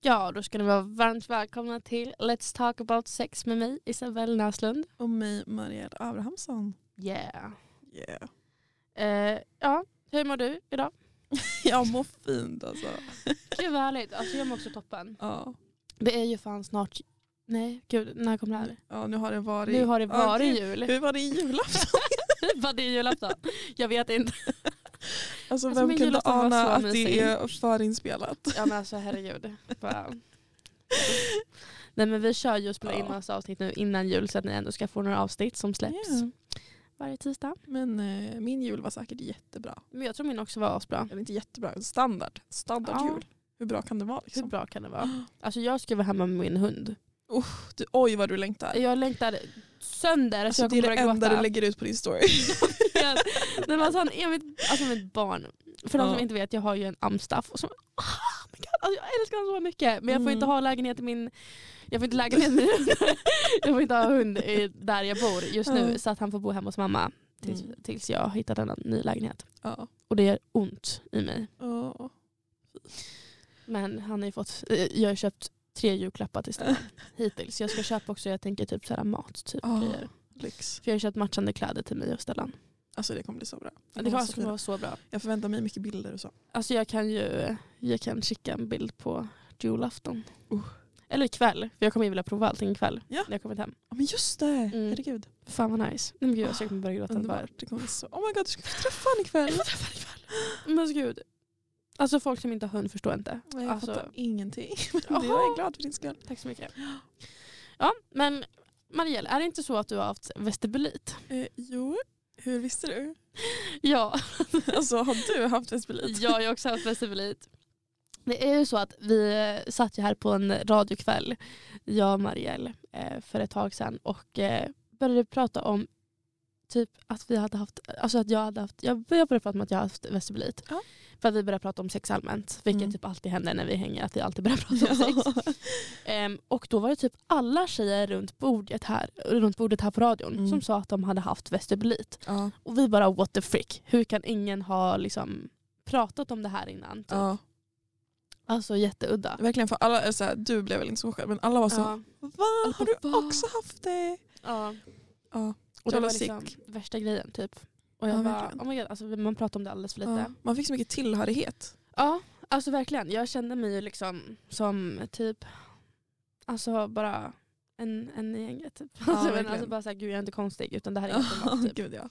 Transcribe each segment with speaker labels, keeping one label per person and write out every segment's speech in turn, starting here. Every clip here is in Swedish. Speaker 1: Ja, då ska ni vara varmt välkomna till Let's Talk About Sex med mig, Isabelle Näslund.
Speaker 2: Och mig, Marielle Abrahamsson.
Speaker 1: Yeah.
Speaker 2: Yeah.
Speaker 1: Eh, ja, hur mår du idag?
Speaker 2: Jag mår fint alltså.
Speaker 1: Gud vad härligt. Alltså jag mår också toppen.
Speaker 2: Ja.
Speaker 1: Det är ju fan snart... Nej, gud, när kom det här?
Speaker 2: ja, nu har det varit...
Speaker 1: Nu har det varit
Speaker 2: Ja, gud.
Speaker 1: jul.
Speaker 2: Hur var det i julafton?
Speaker 1: Vad det är julafton? Jag vet inte.
Speaker 2: Alltså,
Speaker 1: Alltså,
Speaker 2: vem
Speaker 1: min
Speaker 2: kunde
Speaker 1: julafton var
Speaker 2: ana
Speaker 1: så
Speaker 2: att
Speaker 1: mysig.
Speaker 2: det är förinspelat?
Speaker 1: Ja men alltså herregud. Bara... Nej men vi kör ju och spelar in
Speaker 2: Ja.
Speaker 1: massa avsnitt nu innan jul så att ni ändå ska få några avsnitt som släpps
Speaker 2: Yeah.
Speaker 1: varje tisdag.
Speaker 2: Men eh, min jul var säkert jättebra.
Speaker 1: Men jag tror min också var asbra.
Speaker 2: Eller inte jättebra, men standard. Standard
Speaker 1: Ja.
Speaker 2: jul. Hur bra kan det vara?
Speaker 1: Hur
Speaker 2: Liksom?
Speaker 1: bra kan det vara? Alltså jag ska vara hemma med min hund.
Speaker 2: Du, oj vad du längtar.
Speaker 1: Jag längtar sönder
Speaker 2: Alltså,
Speaker 1: så jag
Speaker 2: det
Speaker 1: kommer
Speaker 2: är det
Speaker 1: börja
Speaker 2: enda
Speaker 1: gråta.
Speaker 2: du lägger ut på din story.
Speaker 1: Nej, men alltså han är mitt, alltså mitt barn. För de
Speaker 2: Ja.
Speaker 1: som inte vet, jag har ju en amstaff. Och så, oh my God, alltså jag älskar honom så mycket. Men jag får
Speaker 2: Mm.
Speaker 1: inte ha lägenhet i min... Jag får inte lägenhet i min hund. Jag får inte ha hund i, där jag bor just nu.
Speaker 2: Ja.
Speaker 1: Så att han får bo hemma hos mamma tills,
Speaker 2: Mm.
Speaker 1: tills jag hittat en ny lägenhet.
Speaker 2: ja.
Speaker 1: Och det gör ont i mig.
Speaker 2: Ja.
Speaker 1: Men han har ju fått... eh, Jag har köpt tre julklappar till Stefan hittills. Jag ska köpa också, jag tänker typ så här mat. Typ,
Speaker 2: Ja.
Speaker 1: grejer.
Speaker 2: Lyx.
Speaker 1: För jag har köpt matchande kläder till mig och Stellan.
Speaker 2: Alltså det kommer bli så bra.
Speaker 1: Det
Speaker 2: kommer
Speaker 1: kommer
Speaker 2: vara så
Speaker 1: alltså vara så bra.
Speaker 2: Jag förväntar mig mycket bilder och så.
Speaker 1: Alltså jag kan ju jag kan skicka en bild på julafton.
Speaker 2: Uh.
Speaker 1: Eller ikväll, för jag kommer ju vilja prova allting ikväll
Speaker 2: Ja.
Speaker 1: när jag kommit hem.
Speaker 2: Ja men just det,
Speaker 1: Mm.
Speaker 2: herregud.
Speaker 1: Fan vad nice. Nej men gud jag ska börja gråta. bara.
Speaker 2: Underbart. Det kommer bli så. Oh my god, du ska få träffa honom ikväll.
Speaker 1: Jag får träffa henne ikväll. Men alltså gud. Alltså folk som inte har hund förstår inte.
Speaker 2: Nej, jag
Speaker 1: alltså,
Speaker 2: fattar ingenting. Men
Speaker 1: Jaha.
Speaker 2: det jag är glad för din skull.
Speaker 1: Tack så mycket. Ja men Marielle, är det inte så att du har haft vestibulit?
Speaker 2: Eh, jo, hur visste du?
Speaker 1: Ja,
Speaker 2: Alltså har du haft vespelit?
Speaker 1: jag har ju också haft vestibulit. Det är ju så att vi eh, satt ju här på en radiokväll, jag och Marielle, eh, för ett tag sedan och eh, började prata om typ att vi hade haft, alltså att jag hade haft, jag började prata om att jag haft vestibulit.
Speaker 2: Ja.
Speaker 1: För att vi började prata om sex allmänt, vilket
Speaker 2: Mm.
Speaker 1: typ alltid händer när vi hänger, att vi alltid börjar prata om sex. Ehm, och då var det typ alla tjejer runt bordet här, runt bordet här på radion
Speaker 2: Mm.
Speaker 1: som sa att de hade haft vestibulit.
Speaker 2: ja. typ.
Speaker 1: Och vi bara what the frick, hur kan ingen ha liksom pratat om det här innan? Typ.
Speaker 2: ja.
Speaker 1: Alltså jätteudda.
Speaker 2: Verkligen för alla, eller så här, du blev väl inte så chockad men alla var så
Speaker 1: Ja.
Speaker 2: Va?
Speaker 1: Alla
Speaker 2: Alltså, Har du
Speaker 1: bara, "Va?"
Speaker 2: också haft det?
Speaker 1: Ja.
Speaker 2: Ja.
Speaker 1: Och det
Speaker 2: Jävla
Speaker 1: var liksom
Speaker 2: sick.
Speaker 1: värsta grejen typ. Och jag
Speaker 2: Ja,
Speaker 1: bara,
Speaker 2: verkligen.
Speaker 1: oh my God, alltså, man pratar om det alldeles för lite.
Speaker 2: Ja. Man fick så mycket tillhörighet.
Speaker 1: Ja, alltså verkligen. Jag kände mig ju liksom som typ, alltså bara en, en i gänget. Typ. alltså, men,
Speaker 2: verkligen.
Speaker 1: alltså bara såhär, gud jag är inte konstig utan det här är jättenormalt. Typ.
Speaker 2: Gud, ja.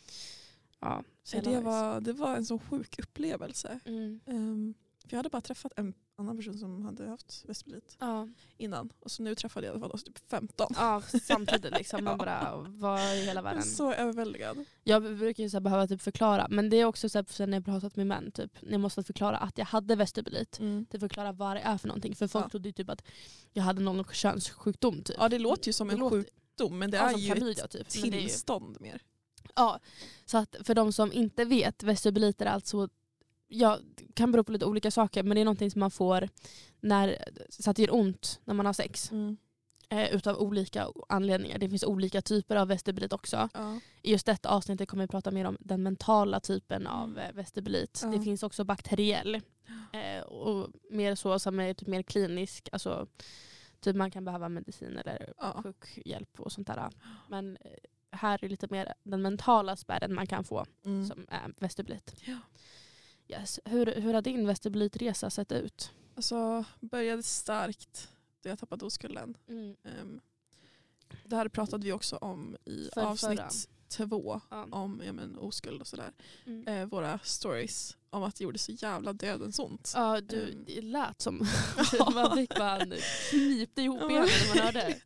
Speaker 1: Ja, så
Speaker 2: Så
Speaker 1: jävla
Speaker 2: det,
Speaker 1: nice.
Speaker 2: var, det var en så sjuk upplevelse.
Speaker 1: Mm.
Speaker 2: Ehm, för jag hade bara träffat en annan person som hade haft vespelit
Speaker 1: Ja.
Speaker 2: innan. Och så nu träffade jag i alla fall typ 15.
Speaker 1: ja, samtidigt liksom. Man
Speaker 2: Ja.
Speaker 1: bara, vad i hela
Speaker 2: Jag är
Speaker 1: världen? Typ.
Speaker 2: så överväldigad.
Speaker 1: Jag brukar ju så här behöva typ förklara, men det är också så här, sen när jag pratat med män, typ, när jag måste förklara att jag hade vestibulit.
Speaker 2: Mm.
Speaker 1: Typ förklara vad det är för någonting. För folk
Speaker 2: Ja.
Speaker 1: trodde ju typ att jag hade någon könssjukdom. Typ.
Speaker 2: Ja det låter ju som
Speaker 1: Det
Speaker 2: en
Speaker 1: låter-
Speaker 2: sjukdom men det
Speaker 1: Ja,
Speaker 2: är
Speaker 1: som
Speaker 2: ju ett
Speaker 1: klamydia, typ. Men det är ju-
Speaker 2: tillstånd mer.
Speaker 1: Ja, så att för de som inte vet, vestibulit är alltså, ja, det kan bero på lite olika saker, men det är någonting som man får när, så att det gör ont när man har sex.
Speaker 2: Mm.
Speaker 1: Eh, utav olika anledningar. Det finns olika typer av vestibulit också.
Speaker 2: Ja.
Speaker 1: I just detta avsnittet kommer vi prata mer om den mentala typen av
Speaker 2: Mm.
Speaker 1: eh, vestibulit.
Speaker 2: Ja.
Speaker 1: Det finns också bakteriell. Eh, och mer så som är typ mer klinisk. Alltså, typ man kan behöva medicin eller
Speaker 2: Ja.
Speaker 1: sjukhjälp och sånt där. Men eh, här är lite mer den mentala spärren man kan få
Speaker 2: Mm.
Speaker 1: som är vestibulit.
Speaker 2: Ja.
Speaker 1: Yes. Hur, hur har din vestibulitresa sett ut?
Speaker 2: Alltså började starkt då jag tappade oskulden. Ehm, det här pratade vi också om i
Speaker 1: Förrförra.
Speaker 2: avsnitt två
Speaker 1: Ja.
Speaker 2: om ja, men, oskuld och sådär.
Speaker 1: Mm.
Speaker 2: Eh, våra stories om att det gjorde så jävla dödens ont.
Speaker 1: Ja, du
Speaker 2: Ehm.
Speaker 1: det lät som man fick bara en- knipte ihop
Speaker 2: Ja.
Speaker 1: benen när man hörde.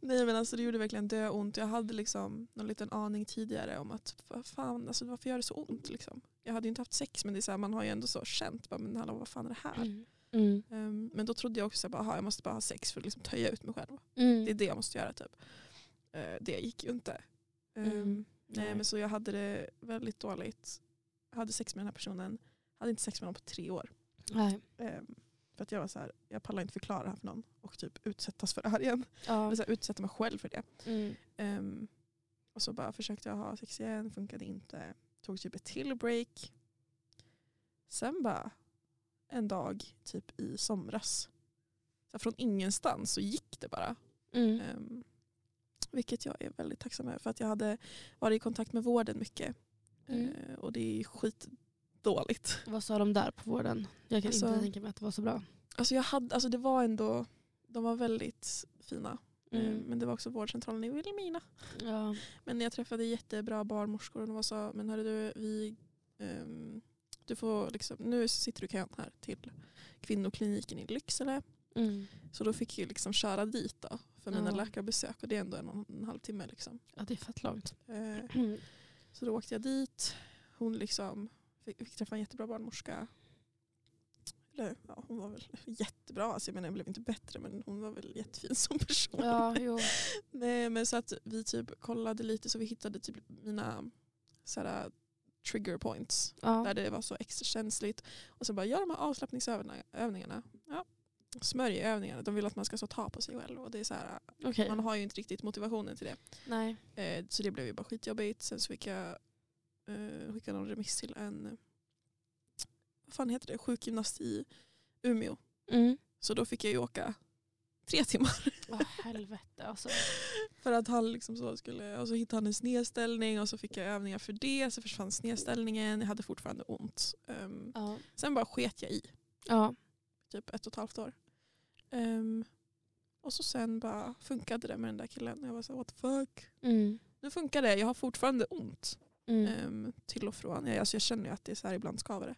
Speaker 2: Nej men alltså det gjorde verkligen dö ont. Jag hade liksom någon liten aning tidigare om att vad fan, alltså, varför gör det så ont liksom? Jag hade ju inte haft sex men det är så här, man har ju ändå så känt, bara, men hallå, vad fan är det här?
Speaker 1: Mm. Mm.
Speaker 2: Ehm, men då trodde jag också att jag måste bara ha sex för att liksom töja ut mig själv. Det är
Speaker 1: Mm.
Speaker 2: det jag måste göra typ. Eh, det gick ju inte. Ehm,
Speaker 1: Mm. Nej.
Speaker 2: Nej men så jag hade det väldigt dåligt. Jag hade sex med den här personen. Hade inte sex med honom på tre år.
Speaker 1: Nej.
Speaker 2: Ehm, för att jag var så här, jag pallar inte förklara det här för någon och typ utsättas för det här igen.
Speaker 1: Ja.
Speaker 2: Eller så här, utsätta mig själv för det.
Speaker 1: Mm.
Speaker 2: Ehm, och så bara försökte jag ha sex igen, funkade inte. Tog typ ett till break. Sen bara en dag typ i somras Så här, från ingenstans så gick det bara.
Speaker 1: Mm.
Speaker 2: Ehm, vilket jag är väldigt tacksam över för att jag hade varit i kontakt med vården mycket.
Speaker 1: Mm.
Speaker 2: Eh, och det är skitdåligt.
Speaker 1: Vad sa de där på vården? Jag kan
Speaker 2: Alltså-
Speaker 1: inte tänka mig att det var så bra.
Speaker 2: Alltså, jag hade, alltså det var ändå, de var väldigt fina. Eh,
Speaker 1: Mm.
Speaker 2: Men det var också vårdcentralen i Vilhelmina.
Speaker 1: Ja.
Speaker 2: Men jag träffade jättebra barnmorskor och de var så, men hörru du, vi, ehm, du får liksom, nu sitter du i kön här till kvinnokliniken i Lycksele.
Speaker 1: Mm.
Speaker 2: Så då fick jag ju liksom köra dit då för mina
Speaker 1: Ja.
Speaker 2: läkarbesök och det är ändå en, och en halv timme liksom.
Speaker 1: ja, det är fett långt.
Speaker 2: Eh, Så då åkte jag dit. Hon liksom fick, fick träffa en jättebra barnmorska. Eller, ja, hon var väl jättebra, alltså, jag menar jag blev inte bättre men hon var väl jättefin som person.
Speaker 1: Ja, jo.
Speaker 2: Nej, men så att vi typ kollade lite så vi hittade typ mina så här, trigger points
Speaker 1: Ja.
Speaker 2: där det var så extra känsligt. Och så bara gör de här avslappningsövningarna. Ja. Smörjövningarna, de vill att man ska så ta på sig själv och det är så här,
Speaker 1: Okej.
Speaker 2: man har ju inte riktigt motivationen till det.
Speaker 1: Nej.
Speaker 2: Eh, så det blev ju bara skitjobbigt. Sen så fick jag eh, skicka någon remiss till en vad fan heter det, sjukgymnast i Umeå.
Speaker 1: Mm.
Speaker 2: Så då fick jag ju åka tre timmar.
Speaker 1: Åh, helvete alltså.
Speaker 2: För att han liksom så skulle, och så hittade han en snedställning och så fick jag övningar för det. Så försvann snedställningen, jag hade fortfarande ont. Ehm,
Speaker 1: Ja.
Speaker 2: sen bara sket jag i,
Speaker 1: Ja.
Speaker 2: typ ett och ett halvt år. Ehm, och så sen bara funkade det med den där killen. Jag var så här, what the fuck.
Speaker 1: Mm.
Speaker 2: Nu funkar det, jag har fortfarande ont.
Speaker 1: Mm.
Speaker 2: Ehm, till och från. Jag, alltså jag känner ju att det är så här ibland skaver det.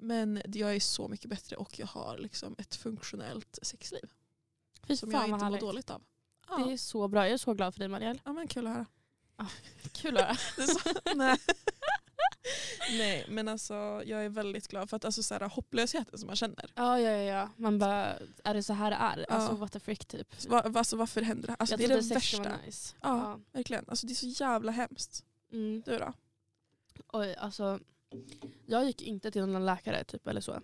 Speaker 2: Men det- jag är så mycket bättre och jag har liksom ett funktionellt sexliv.
Speaker 1: Fy
Speaker 2: Som
Speaker 1: fan
Speaker 2: jag
Speaker 1: vad
Speaker 2: inte mår
Speaker 1: härligt.
Speaker 2: dåligt av. Ja,
Speaker 1: Det är så bra. Jag är så glad för dig Marielle.
Speaker 2: ja men kul att höra.
Speaker 1: Kul att höra.
Speaker 2: Det är så- Nej. Nej men alltså jag är väldigt glad för att alltså, så här, hopplösheten som man känner.
Speaker 1: Ja, ja, ja, ja. Man bara, är det så här det är? Alltså
Speaker 2: Ja.
Speaker 1: what the frick typ.
Speaker 2: Va, va- alltså, varför händer det här? Alltså,
Speaker 1: jag
Speaker 2: det är
Speaker 1: trodde
Speaker 2: det
Speaker 1: sex ska vara
Speaker 2: värsta.
Speaker 1: Nice.
Speaker 2: Ja. Verkligen. Alltså, det är så jävla hemskt.
Speaker 1: Mm.
Speaker 2: Du då?
Speaker 1: Oj, alltså. Jag gick inte till någon läkare typ eller så.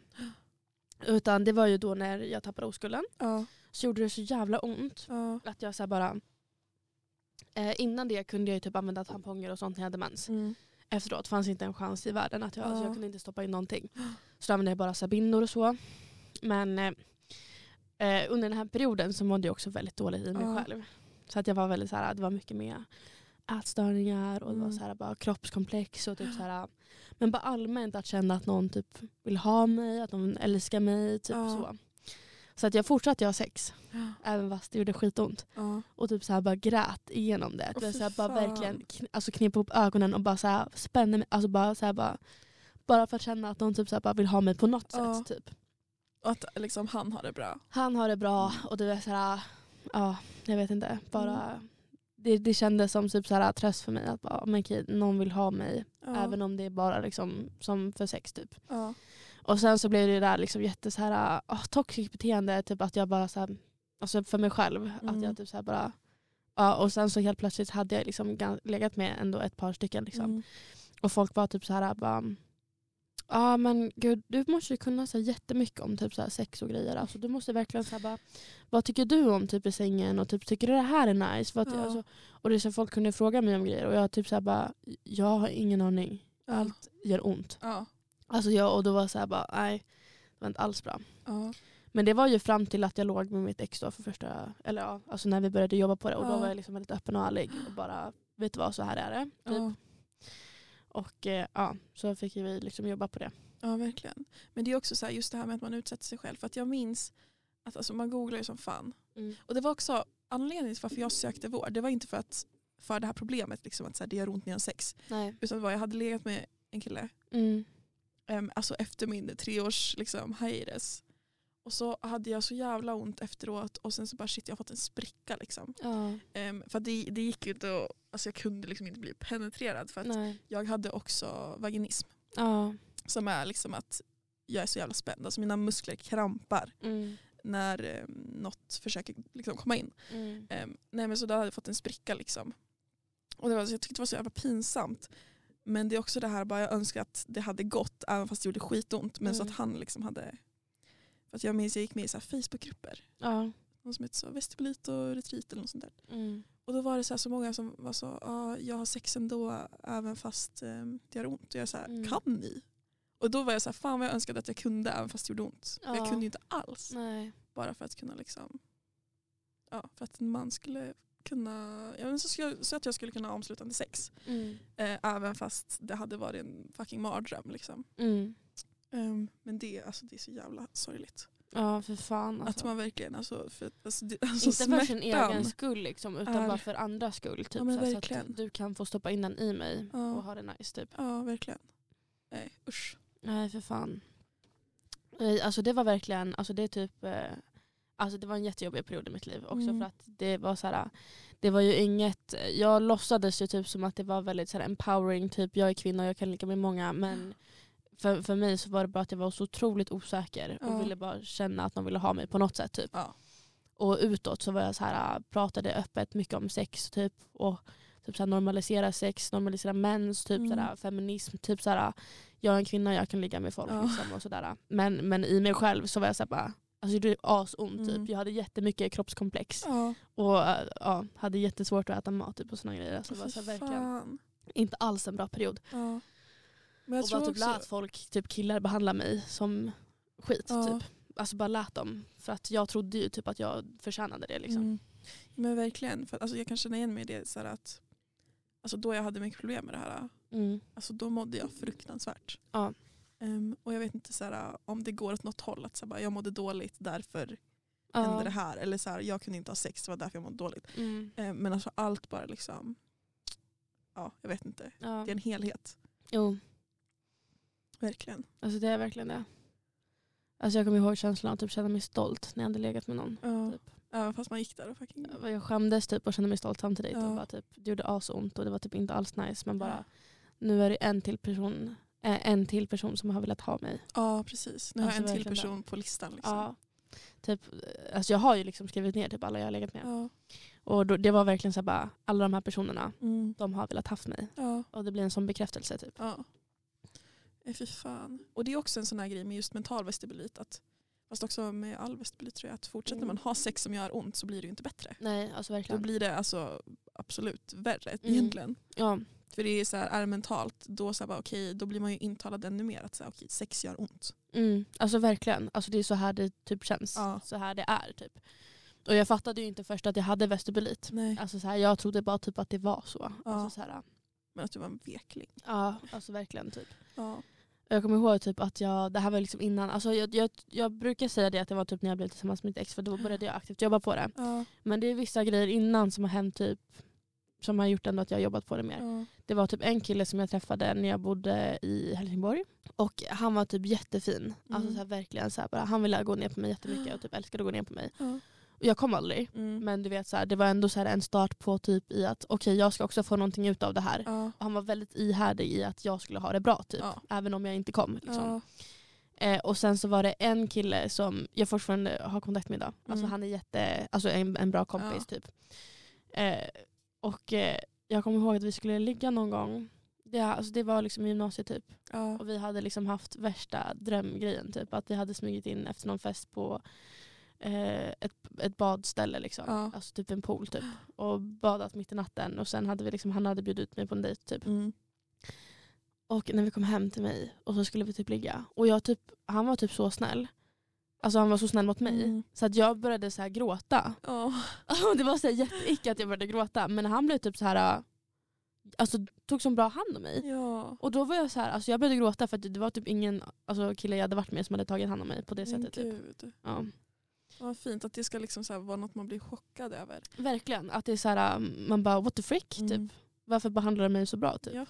Speaker 1: Utan det var ju då när jag tappade oskulden.
Speaker 2: Ja.
Speaker 1: Så gjorde det så jävla ont.
Speaker 2: ja.
Speaker 1: Att jag så här bara. Eh, innan det kunde jag ju typ använda tamponger och sånt när jag hade mens.
Speaker 2: Mm.
Speaker 1: Efteråt fanns inte en chans i världen. att Jag, alltså,
Speaker 2: Ja.
Speaker 1: jag kunde inte stoppa in någonting. Så då använde jag bara så här bindor och så. Men eh, eh, under den här perioden så mådde jag också väldigt dåligt i mig
Speaker 2: Ja.
Speaker 1: själv. Så att jag var väldigt så här, det var mycket med ätstörningar och det var
Speaker 2: Mm.
Speaker 1: så här, bara kroppskomplex. Och typ så här, men bara allmänt att känna att någon typ vill ha mig, att någon älskar mig. Typ
Speaker 2: Ja.
Speaker 1: så. Så att jag fortsatte ha sex,
Speaker 2: Ja.
Speaker 1: även fast det gjorde skitont
Speaker 2: Ja.
Speaker 1: och typ så här bara grät igenom det.
Speaker 2: Åh,
Speaker 1: Oh,
Speaker 2: fy
Speaker 1: så här bara
Speaker 2: fan.
Speaker 1: verkligen kn- alltså knep ihop ögonen och bara så här spände mig. Alltså bara, så här bara, bara för att känna att de typ så här bara vill ha mig på något
Speaker 2: Ja.
Speaker 1: sätt. Typ.
Speaker 2: Och att liksom, han har det bra.
Speaker 1: Han har det bra och du är så här, ja jag vet inte. Bara,
Speaker 2: Mm.
Speaker 1: det, det kändes som typ så här tröst för mig att bara, men okej, någon vill ha mig.
Speaker 2: Ja.
Speaker 1: Även om det är bara liksom, som för sex typ.
Speaker 2: ja.
Speaker 1: Och sen så blev det där liksom jätte så här, oh, toxic beteende, typ att jag bara så här, alltså för mig själv,
Speaker 2: Mm.
Speaker 1: att jag typ så här bara Ja, och sen så helt plötsligt hade jag liksom gan- legat med ändå ett par stycken. Liksom.
Speaker 2: Mm.
Speaker 1: Och folk var typ så här, bara, ja men gud du måste ju kunna så här, jättemycket om typ så här, sex och grejer. Alltså, du måste verkligen så här, bara, vad tycker du om typ i sängen och typ tycker du det här är nice? Vad,
Speaker 2: Ja.
Speaker 1: alltså, och det är så här, folk kunde fråga mig om grejer och jag typ så här, bara, jag har ingen aning.
Speaker 2: Ja.
Speaker 1: Allt gör ont.
Speaker 2: Ja.
Speaker 1: Alltså jag, och då var jag så här bara, nej, det var inte alls bra.
Speaker 2: Ja.
Speaker 1: Men det var ju fram till att jag låg med mitt ex då för första, eller ja, alltså när vi började jobba på det. Och
Speaker 2: Ja.
Speaker 1: då var jag liksom väldigt öppen och ärlig och bara, vet du vad, så här är det. Typ.
Speaker 2: Ja.
Speaker 1: Och eh, ja, så fick ju vi liksom jobba på det.
Speaker 2: Ja, verkligen. Men det är också så här, just det här med att man utsätter sig själv. För att jag minns att alltså, man googlar ju som fan.
Speaker 1: Mm.
Speaker 2: Och det var också anledningen till varför jag sökte vård. Det var inte för att för det här problemet, liksom, att så här, det gör ont när jag har sex.
Speaker 1: Nej.
Speaker 2: Utan det var jag hade legat med en kille
Speaker 1: Mm.
Speaker 2: em, alltså efter min treårs liksom, hiatus. Och så hade jag så jävla ont efteråt och sen så bara shit jag har fått en spricka. Liksom.
Speaker 1: Ja,
Speaker 2: Em, för att det, det gick ju inte att, alltså jag kunde liksom inte bli penetrerad för att
Speaker 1: nej.
Speaker 2: jag hade också vaginism.
Speaker 1: Ja.
Speaker 2: Som är liksom att jag är så jävla spänd. Alltså mina muskler krampar
Speaker 1: Mm.
Speaker 2: när eh, något försöker liksom, komma in.
Speaker 1: Mm.
Speaker 2: Eh, nej men så där hade jag fått en spricka liksom. Och det var, så- jag tyckte det var så jävla pinsamt. Men det är också det här bara jag önskar att det hade gått även fast det gjorde skitont. Men så att
Speaker 1: Mm.
Speaker 2: han liksom hade. För att jag minns jag gick med i så här Facebookgrupper.
Speaker 1: Ja.
Speaker 2: Någon som heter så vestibulit och retreat eller något sånt där.
Speaker 1: Mm.
Speaker 2: Och då var det så, här så många som var så, ah, jag har sex ändå även fast eh, det gör ont. Och jag så här,
Speaker 1: Mm.
Speaker 2: kan ni? Och då var jag så här, fan vad jag önskade att jag kunde även fast det gjorde ont. För jag
Speaker 1: Ja.
Speaker 2: kunde ju inte alls.
Speaker 1: Nej.
Speaker 2: Bara för att kunna liksom, ja för att en man skulle kunna, ja, men så, skulle, så att jag skulle kunna ha omslutande sex.
Speaker 1: Mm.
Speaker 2: Eh, även fast det hade varit en fucking mardröm liksom.
Speaker 1: Mm.
Speaker 2: Ehm, men det, alltså, det är så jävla sorgligt.
Speaker 1: Ja för fan alltså.
Speaker 2: Att man verkligen, alltså, för, alltså, det, alltså
Speaker 1: Inte för sin
Speaker 2: smärtan.
Speaker 1: egen skull liksom, utan
Speaker 2: är-
Speaker 1: bara för andras skull. Typ,
Speaker 2: Ja, men
Speaker 1: så, här, så
Speaker 2: verkligen.
Speaker 1: att du kan få stoppa in den i mig
Speaker 2: Ja.
Speaker 1: och ha det nice. Typ.
Speaker 2: Ja verkligen. Nej usch.
Speaker 1: Nej för fan. Nej, Alltså det var verkligen, alltså det är typ eh, Alltså det var en jättejobbig period i mitt liv också
Speaker 2: Mm.
Speaker 1: för att det var så här, det var ju inget, jag låtsades ju typ som att det var väldigt så här empowering, typ jag är kvinna och jag kan lika med många men för, för mig så var det bara att jag var så otroligt osäker och
Speaker 2: Ja.
Speaker 1: ville bara känna att någon ville ha mig på något sätt typ.
Speaker 2: Ja.
Speaker 1: Och utåt så var jag så här, äh, pratade öppet mycket om sex typ och typ så här, normalisera sex, normalisera mens, typ
Speaker 2: Mm.
Speaker 1: så här, feminism, typ så här, jag är en kvinna jag kan ligga med folk
Speaker 2: Ja.
Speaker 1: liksom, och sådär. Men, men i mig själv så var jag så här, bara, alltså det gjorde asont
Speaker 2: Mm.
Speaker 1: typ. Jag hade jättemycket kroppskomplex
Speaker 2: Ja,
Speaker 1: och äh, ja, hade jättesvårt att äta mat typ, och sådana grejer. Alltså, det var
Speaker 2: fy
Speaker 1: så här, verkligen
Speaker 2: fan.
Speaker 1: inte alls en bra period.
Speaker 2: Ja. Men jag
Speaker 1: och
Speaker 2: tror
Speaker 1: bara typ
Speaker 2: också,
Speaker 1: lät folk, typ killar behandla mig som skit.
Speaker 2: Ja.
Speaker 1: Typ. Alltså bara lät dem. För att jag trodde ju typ att jag förtjänade det liksom.
Speaker 2: Mm. Men verkligen, för att, alltså, jag kan känna igen mig i det så här att alltså, då jag hade mycket problem med det här,
Speaker 1: Mm.
Speaker 2: alltså, då mådde jag fruktansvärt.
Speaker 1: Ja.
Speaker 2: Ehm, och jag vet inte så här, om det går åt något håll, att så här, bara, jag mådde dåligt därför hände det här. Eller så här, jag kunde inte ha sex, det var därför jag mådde dåligt.
Speaker 1: Mm.
Speaker 2: Ehm, men alltså allt bara liksom, ja jag vet inte.
Speaker 1: Ja.
Speaker 2: Det är en helhet,
Speaker 1: Jo.
Speaker 2: verkligen.
Speaker 1: Alltså det är verkligen det. Alltså jag kommer ihåg känslan av att typ känna mig stolt när jag hade legat med någon.
Speaker 2: Ja.
Speaker 1: Typ.
Speaker 2: Ja, fast man gick där och fucking...
Speaker 1: Jag skämdes typ och kände mig stolt samtidigt.
Speaker 2: Ja.
Speaker 1: Och bara typ, det gjorde asont och det var typ inte alls nice. Men bara, nu är det en till person, eh, en till person som har velat ha mig.
Speaker 2: Ja, precis. Nu har jag
Speaker 1: Alltså,
Speaker 2: en till
Speaker 1: verkligen
Speaker 2: person på listan. Liksom.
Speaker 1: Ja. Typ, alltså jag har ju liksom skrivit ner typ alla jag har legat med.
Speaker 2: Ja.
Speaker 1: Och då, det var verkligen så här bara, alla de här personerna,
Speaker 2: Mm.
Speaker 1: de har velat haft mig.
Speaker 2: ja.
Speaker 1: Och det blir en sån bekräftelse typ.
Speaker 2: Ja. Eh, Fy fan. Och det är också en sån här grej med just mental vestibulit. Att, fast också med all vestibulit tror jag. Att fortsätter
Speaker 1: Mm.
Speaker 2: man ha sex som gör ont så blir det ju inte bättre.
Speaker 1: Nej, alltså
Speaker 2: Då
Speaker 1: verkligen.
Speaker 2: blir det alltså absolut värre
Speaker 1: Mm.
Speaker 2: egentligen.
Speaker 1: ja.
Speaker 2: För det är så här, är det mentalt då, så här bara, okej, då blir man ju intalad ännu mer att så här, okej, sex gör ont.
Speaker 1: Mm, alltså verkligen. Alltså det är så här det typ känns.
Speaker 2: Ja.
Speaker 1: Så här det är typ. Och jag fattade ju inte först att jag hade vestibulit.
Speaker 2: Nej.
Speaker 1: Alltså så här, jag trodde bara typ att det var så.
Speaker 2: Ja.
Speaker 1: Alltså så här,
Speaker 2: Men att du var en vekling.
Speaker 1: ja, alltså verkligen typ.
Speaker 2: Ja.
Speaker 1: Jag kommer ihåg typ att jag, det här var liksom innan, alltså jag, jag, jag brukar säga det att det var typ när jag blev tillsammans med mitt ex för då började jag aktivt jobba på det.
Speaker 2: Ja.
Speaker 1: Men det är vissa grejer innan som har hänt typ som har gjort ändå att jag har jobbat på det mer.
Speaker 2: Ja.
Speaker 1: Det var typ en kille som jag träffade när jag bodde i Helsingborg. Och han var typ jättefin. Alltså
Speaker 2: Mm.
Speaker 1: så här, verkligen så här, bara, han ville gå ner på mig jättemycket och typ älskade att gå ner på mig.
Speaker 2: Ja.
Speaker 1: Och jag kom aldrig.
Speaker 2: Mm.
Speaker 1: Men du vet så här, det var ändå så här, en start på typ i att okej jag ska också få någonting ut av det här.
Speaker 2: Ja.
Speaker 1: Och han var väldigt ihärdig i att jag skulle ha det bra typ.
Speaker 2: Ja.
Speaker 1: Även om jag inte kom. Liksom.
Speaker 2: Ja.
Speaker 1: Eh, och sen så var det en kille som jag fortfarande har kontakt med idag. Alltså
Speaker 2: Mm.
Speaker 1: han är jätte, alltså en, en bra kompis typ. Eh, och eh, jag kommer ihåg att vi skulle ligga någon gång. Det, alltså, det var liksom i gymnasiet typ.
Speaker 2: Ja.
Speaker 1: Och vi hade liksom haft värsta drömgrejen. Typ att vi hade smugit in efter någon fest på eh, ett, ett badställe. Liksom.
Speaker 2: Ja.
Speaker 1: Alltså typ en pool typ. Och badat mitt i natten. Och sen hade vi liksom, han hade bjudit ut mig på en dejt typ.
Speaker 2: Mm.
Speaker 1: Och när vi kom hem till mig och så skulle vi typ ligga. Och jag typ, han var typ så snäll. Alltså han var så snäll mot mig.
Speaker 2: Mm.
Speaker 1: Så att jag började så här gråta.
Speaker 2: Ja.
Speaker 1: Och det var så här jätteicke att jag började gråta. Men han blev typ så här, äh, alltså tog så bra hand om mig.
Speaker 2: Ja.
Speaker 1: Och då var jag så här, alltså jag började gråta för att det var typ ingen alltså, kille jag hade varit med som hade tagit hand om mig på det
Speaker 2: Men
Speaker 1: sättet. Typ.
Speaker 2: gud.
Speaker 1: Ja.
Speaker 2: Vad fint att det ska liksom så här vara något man blir chockad över.
Speaker 1: Verkligen, att det är så här, äh, man bara what the frick
Speaker 2: Mm.
Speaker 1: typ. Varför behandlar de mig så bra typ?
Speaker 2: Ja,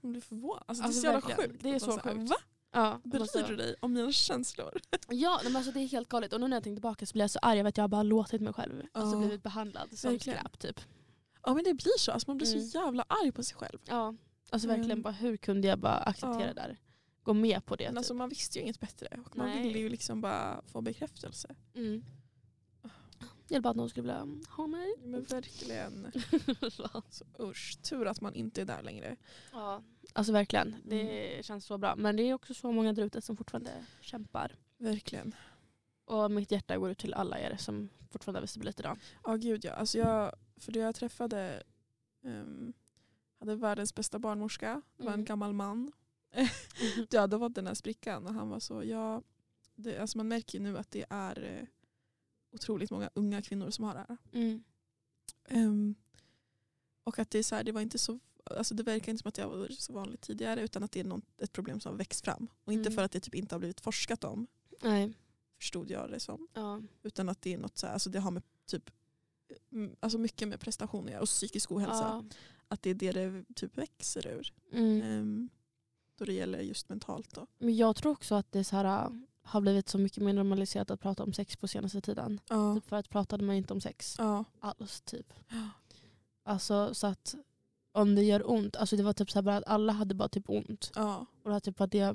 Speaker 2: man blir förvånad. Alltså,
Speaker 1: Alltså,
Speaker 2: det är så jävla
Speaker 1: verkligen.
Speaker 2: sjukt.
Speaker 1: Det är
Speaker 2: att
Speaker 1: så
Speaker 2: man här,
Speaker 1: sjukt.
Speaker 2: Va?
Speaker 1: Ja, alltså-
Speaker 2: Bryr du dig om mina känslor?
Speaker 1: Ja, nej, men alltså det är helt galet. Och nu när jag tänker tillbaka så blir jag så arg över att jag bara låtit mig själv. Alltså
Speaker 2: Ja.
Speaker 1: blivit behandlad som
Speaker 2: Verkligen.
Speaker 1: skräp typ.
Speaker 2: Ja men det blir så. Alltså, man blir
Speaker 1: Mm.
Speaker 2: så jävla arg på sig själv.
Speaker 1: Ja. Alltså
Speaker 2: Mm.
Speaker 1: verkligen bara hur kunde jag bara acceptera
Speaker 2: Ja.
Speaker 1: det där? Gå med på det.
Speaker 2: Men
Speaker 1: Typ.
Speaker 2: alltså, man visste ju inget bättre. Och man
Speaker 1: Nej.
Speaker 2: ville ju liksom bara få bekräftelse.
Speaker 1: Mm. Jag bara att någon skulle vilja ha mig.
Speaker 2: Men verkligen.
Speaker 1: Så.
Speaker 2: Så, usch, tur att man inte är där längre.
Speaker 1: ja. Alltså verkligen. Det
Speaker 2: Mm.
Speaker 1: känns så bra. Men det är också så många där ute som fortfarande kämpar.
Speaker 2: Verkligen.
Speaker 1: Och mitt hjärta går ut till alla er som fortfarande har vestibulit idag.
Speaker 2: Ja gud ja. Alltså, jag, för det jag träffade ehm, hade världens bästa barnmorska. Det var
Speaker 1: Mm.
Speaker 2: en gammal man. Ja, då var den här sprickan och han var så, ja, det, alltså man märker ju nu att det är eh, otroligt många unga kvinnor som har det här.
Speaker 1: Mm.
Speaker 2: Ehm, och att det är så här, det var inte så Alltså det verkar inte som att det var så vanligt tidigare utan att det är någon, ett problem som har växt fram. Och inte
Speaker 1: Mm.
Speaker 2: för att det typ inte har blivit forskat om,
Speaker 1: Nej.
Speaker 2: förstod jag det som.
Speaker 1: Ja.
Speaker 2: Utan att det är något så här, alltså det har med typ, mm, alltså mycket med prestation att göra och psykisk
Speaker 1: Ja.
Speaker 2: ohälsa. Att det är det det typ växer ur.
Speaker 1: Mm.
Speaker 2: Ehm, då det gäller just mentalt då.
Speaker 1: Men jag tror också att det så här, äh, har blivit så mycket mer normaliserat att prata om sex på senaste tiden.
Speaker 2: Ja.
Speaker 1: Typ förut pratade man ju inte om sex
Speaker 2: Ja.
Speaker 1: alls. Typ. Alltså så att om det gör ont, alltså det var typ så här bara att alla hade bara typ ont.
Speaker 2: Ja.
Speaker 1: Och det var typ att det,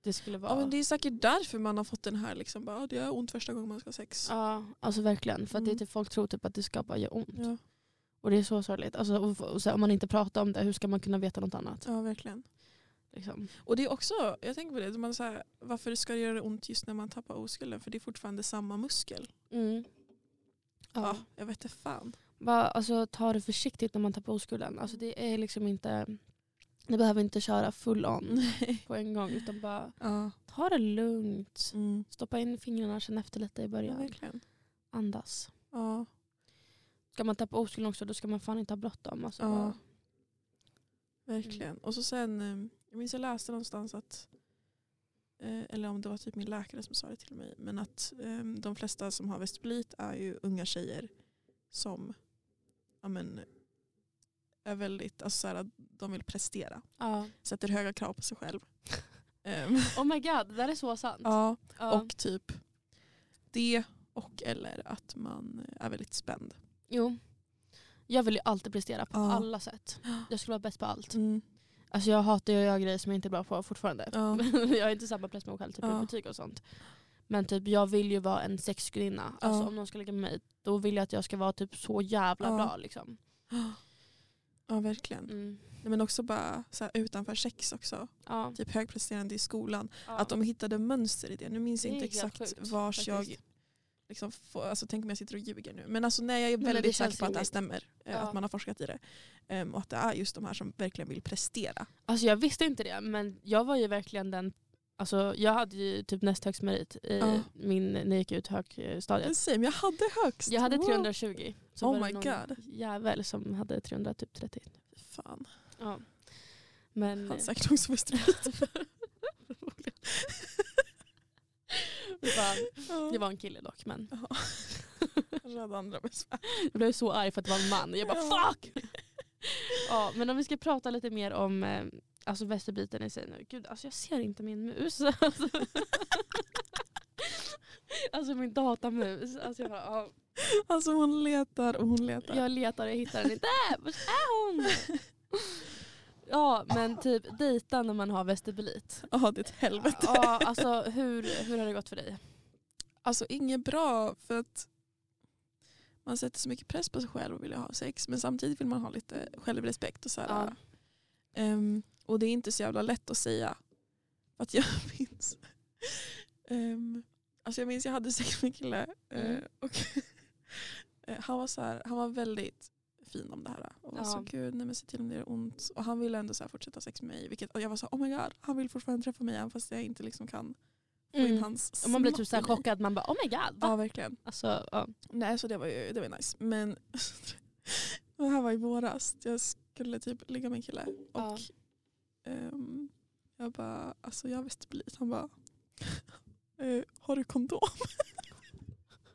Speaker 1: det skulle vara.
Speaker 2: ja men det är säkert därför man har fått den här liksom, bara, "Ah, det gör ont första gången man ska ha sex.
Speaker 1: Ja, alltså verkligen. För att det är
Speaker 2: Mm.
Speaker 1: typ, folk tror typ att det ska bara göra ont.
Speaker 2: Ja,
Speaker 1: Och det är så sorgligt. Alltså, och, och så här, om man inte pratar om det, hur ska man kunna veta något annat?
Speaker 2: ja verkligen.
Speaker 1: Liksom.
Speaker 2: Och det är också, jag tänker på det, man så här, varför ska det göra ont just när man tappar oskulden? För det är fortfarande samma muskel.
Speaker 1: Mm. Ja.
Speaker 2: Ja. jag vet inte fan.
Speaker 1: Bara, alltså, ta det försiktigt när man tappar oskulden. Alltså, det är liksom inte... Ni behöver inte köra full on på en gång. Utan bara
Speaker 2: Ja.
Speaker 1: ta det lugnt.
Speaker 2: Mm.
Speaker 1: Stoppa in fingrarna, känn efter lite i
Speaker 2: ja,
Speaker 1: början.
Speaker 2: verkligen.
Speaker 1: Andas.
Speaker 2: Ja.
Speaker 1: Ska man tappa oskulden också, då ska man fan inte ha bråttom. Alltså,
Speaker 2: Ja.
Speaker 1: bara-
Speaker 2: Verkligen. Och så sen, eh, jag minns jag läste någonstans att, eh, eller om det var typ min läkare som sa det till mig, men att eh, de flesta som har vestibulit är ju unga tjejer som ja, men, är väldigt, alltså så här, att de vill prestera,
Speaker 1: ja.
Speaker 2: sätter höga krav på sig själv. Ehm,
Speaker 1: Oh my god, det där är så sant.
Speaker 2: ja,
Speaker 1: Ja.
Speaker 2: och typ det och eller att man är väldigt spänd.
Speaker 1: Jo. Jag vill ju alltid prestera på
Speaker 2: Ja.
Speaker 1: alla sätt. Jag skulle vara bäst på allt.
Speaker 2: Mm.
Speaker 1: Alltså jag hatar ju att göra grejer som jag inte är bra på fortfarande.
Speaker 2: Ja.
Speaker 1: jag är inte samma press med mig själv, typ
Speaker 2: Ja.
Speaker 1: i betyg och sånt. Men typ jag vill ju vara en sexgudinna.
Speaker 2: Ja.
Speaker 1: Alltså om någon ska ligga med mig, då vill jag att jag ska vara typ så jävla
Speaker 2: Ja.
Speaker 1: bra liksom.
Speaker 2: Ja verkligen.
Speaker 1: Mm.
Speaker 2: Nej, Men också bara så här, utanför sex också.
Speaker 1: Ja.
Speaker 2: Typ högpresterande i skolan.
Speaker 1: Ja.
Speaker 2: Att de hittade mönster i det. Nu minns jag
Speaker 1: Det är
Speaker 2: inte
Speaker 1: helt
Speaker 2: exakt
Speaker 1: sjukt,
Speaker 2: vars jag...
Speaker 1: faktiskt.
Speaker 2: Liksom får, alltså, tänk om jag sitter och ljuger nu. Men alltså, nej, jag är
Speaker 1: men det
Speaker 2: väldigt säker
Speaker 1: känns
Speaker 2: på att det här
Speaker 1: rimligt.
Speaker 2: stämmer. eh,
Speaker 1: Ja.
Speaker 2: Att man har forskat i det. Ehm, och att det är just de här som verkligen vill prestera.
Speaker 1: Alltså jag visste inte det men jag var ju verkligen den Alltså jag hade ju typ näst högst merit i
Speaker 2: Ja.
Speaker 1: min, när jag gick ut högstadiet.
Speaker 2: Same, jag hade högst.
Speaker 1: Jag hade
Speaker 2: Wow.
Speaker 1: 320. Så
Speaker 2: Oh
Speaker 1: var det
Speaker 2: my
Speaker 1: någon
Speaker 2: God.
Speaker 1: jävel som hade 330.
Speaker 2: Fan,
Speaker 1: Ja. Men,
Speaker 2: han säkert också var straight.
Speaker 1: det, var, det
Speaker 2: Ja,
Speaker 1: var en kille dock men
Speaker 2: Röda andra besvär.
Speaker 1: jag blev så arg för att det var en man. Jag bara
Speaker 2: Ja.
Speaker 1: fuck! Ja, men om vi ska prata lite mer om eh, alltså västerbiten i sig nu. Gud alltså jag ser inte min mus. Alltså, alltså min datamus. Alltså, jag, bara, ja,
Speaker 2: Alltså hon letar och hon letar.
Speaker 1: jag letar och jag hittar den inte. Var är hon? Ja men typ dejta när man har vestibulit.
Speaker 2: Ja, det är ett helvete.
Speaker 1: Ja, alltså hur, hur har det gått för dig?
Speaker 2: Alltså inget bra för att man sätter så mycket press på sig själv och vill ha sex. Men samtidigt vill man ha lite självrespekt och så här,
Speaker 1: Ja.
Speaker 2: Ehm, och det är inte så jävla lätt att säga. För Att jag minns. Um, alltså jag minns jag hade sex med en kille. eh,
Speaker 1: Mm.
Speaker 2: och eh, han, var så här, han var väldigt fin om det här. Och var så
Speaker 1: Ja.
Speaker 2: gud, nej men se till om det gör ont. Och han ville ändå så här fortsätta ha sex med mig. Vilket, och jag var så här, oh my god, han vill fortfarande träffa mig även fast jag inte liksom kan få in
Speaker 1: Mm.
Speaker 2: hans
Speaker 1: Och man blir typ
Speaker 2: snopp
Speaker 1: så här
Speaker 2: i mig.
Speaker 1: chockad, man bara oh my god. Va?
Speaker 2: Ja verkligen.
Speaker 1: Alltså, ja.
Speaker 2: Nej, så det var ju det var ju nice. Men det här var i våras. Jag skulle typ ligga med en kille. Och
Speaker 1: Ja.
Speaker 2: ehm, jag bara, alltså jag visste bli. Han bara, eh, har du kondom?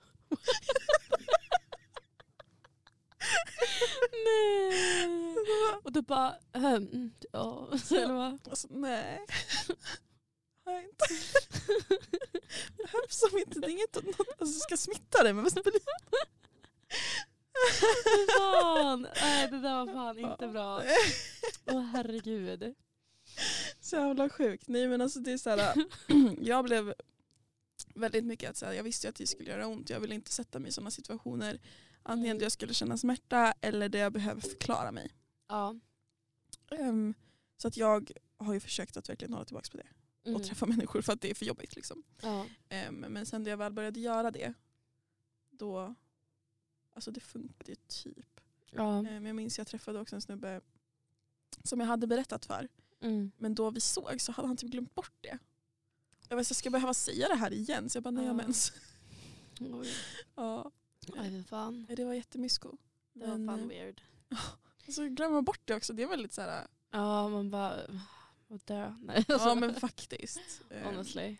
Speaker 1: Nej. Och du bara, ehm, ja. Så, eller vad?
Speaker 2: Alltså nej. Har jag inte. Behövs som inte. Det är inget något, alltså, jag ska smitta dig men visst blir
Speaker 1: Fan. Nej, det där var fan inte bra. Åh herregud.
Speaker 2: Så jävla sjukt. Nej men alltså det är så här, jag blev väldigt mycket att så här, jag visste ju att det skulle göra ont. Jag ville inte sätta mig i sådana situationer. Antingen
Speaker 1: Mm.
Speaker 2: där jag skulle känna smärta eller där jag behöver förklara mig.
Speaker 1: Ja.
Speaker 2: Ehm, så att jag har ju försökt att verkligen hålla tillbaka på det
Speaker 1: Mm.
Speaker 2: och träffa människor för att det är för jobbigt. Liksom.
Speaker 1: Ja.
Speaker 2: Ehm, men sen när jag väl började göra det då, alltså det funkade ju typ.
Speaker 1: ja.
Speaker 2: Ehm, jag minns jag träffade också en snubbe som jag hade berättat för
Speaker 1: Mm.
Speaker 2: men då vi såg så hade han typ glömt bort det. Jag var så här, ska jag behöva säga det här igen? Så jag bara, nej jag har
Speaker 1: Ja.
Speaker 2: mens.
Speaker 1: Oj,
Speaker 2: Ja,
Speaker 1: oj fy fan.
Speaker 2: det var jättemysko.
Speaker 1: Det var fan
Speaker 2: Men-
Speaker 1: weird.
Speaker 2: Och så glömmer man bort det också. Det är väl lite så här,
Speaker 1: Ja man bara, vad dö. Nej,
Speaker 2: ja
Speaker 1: alltså,
Speaker 2: men faktiskt. Eh,
Speaker 1: honestly.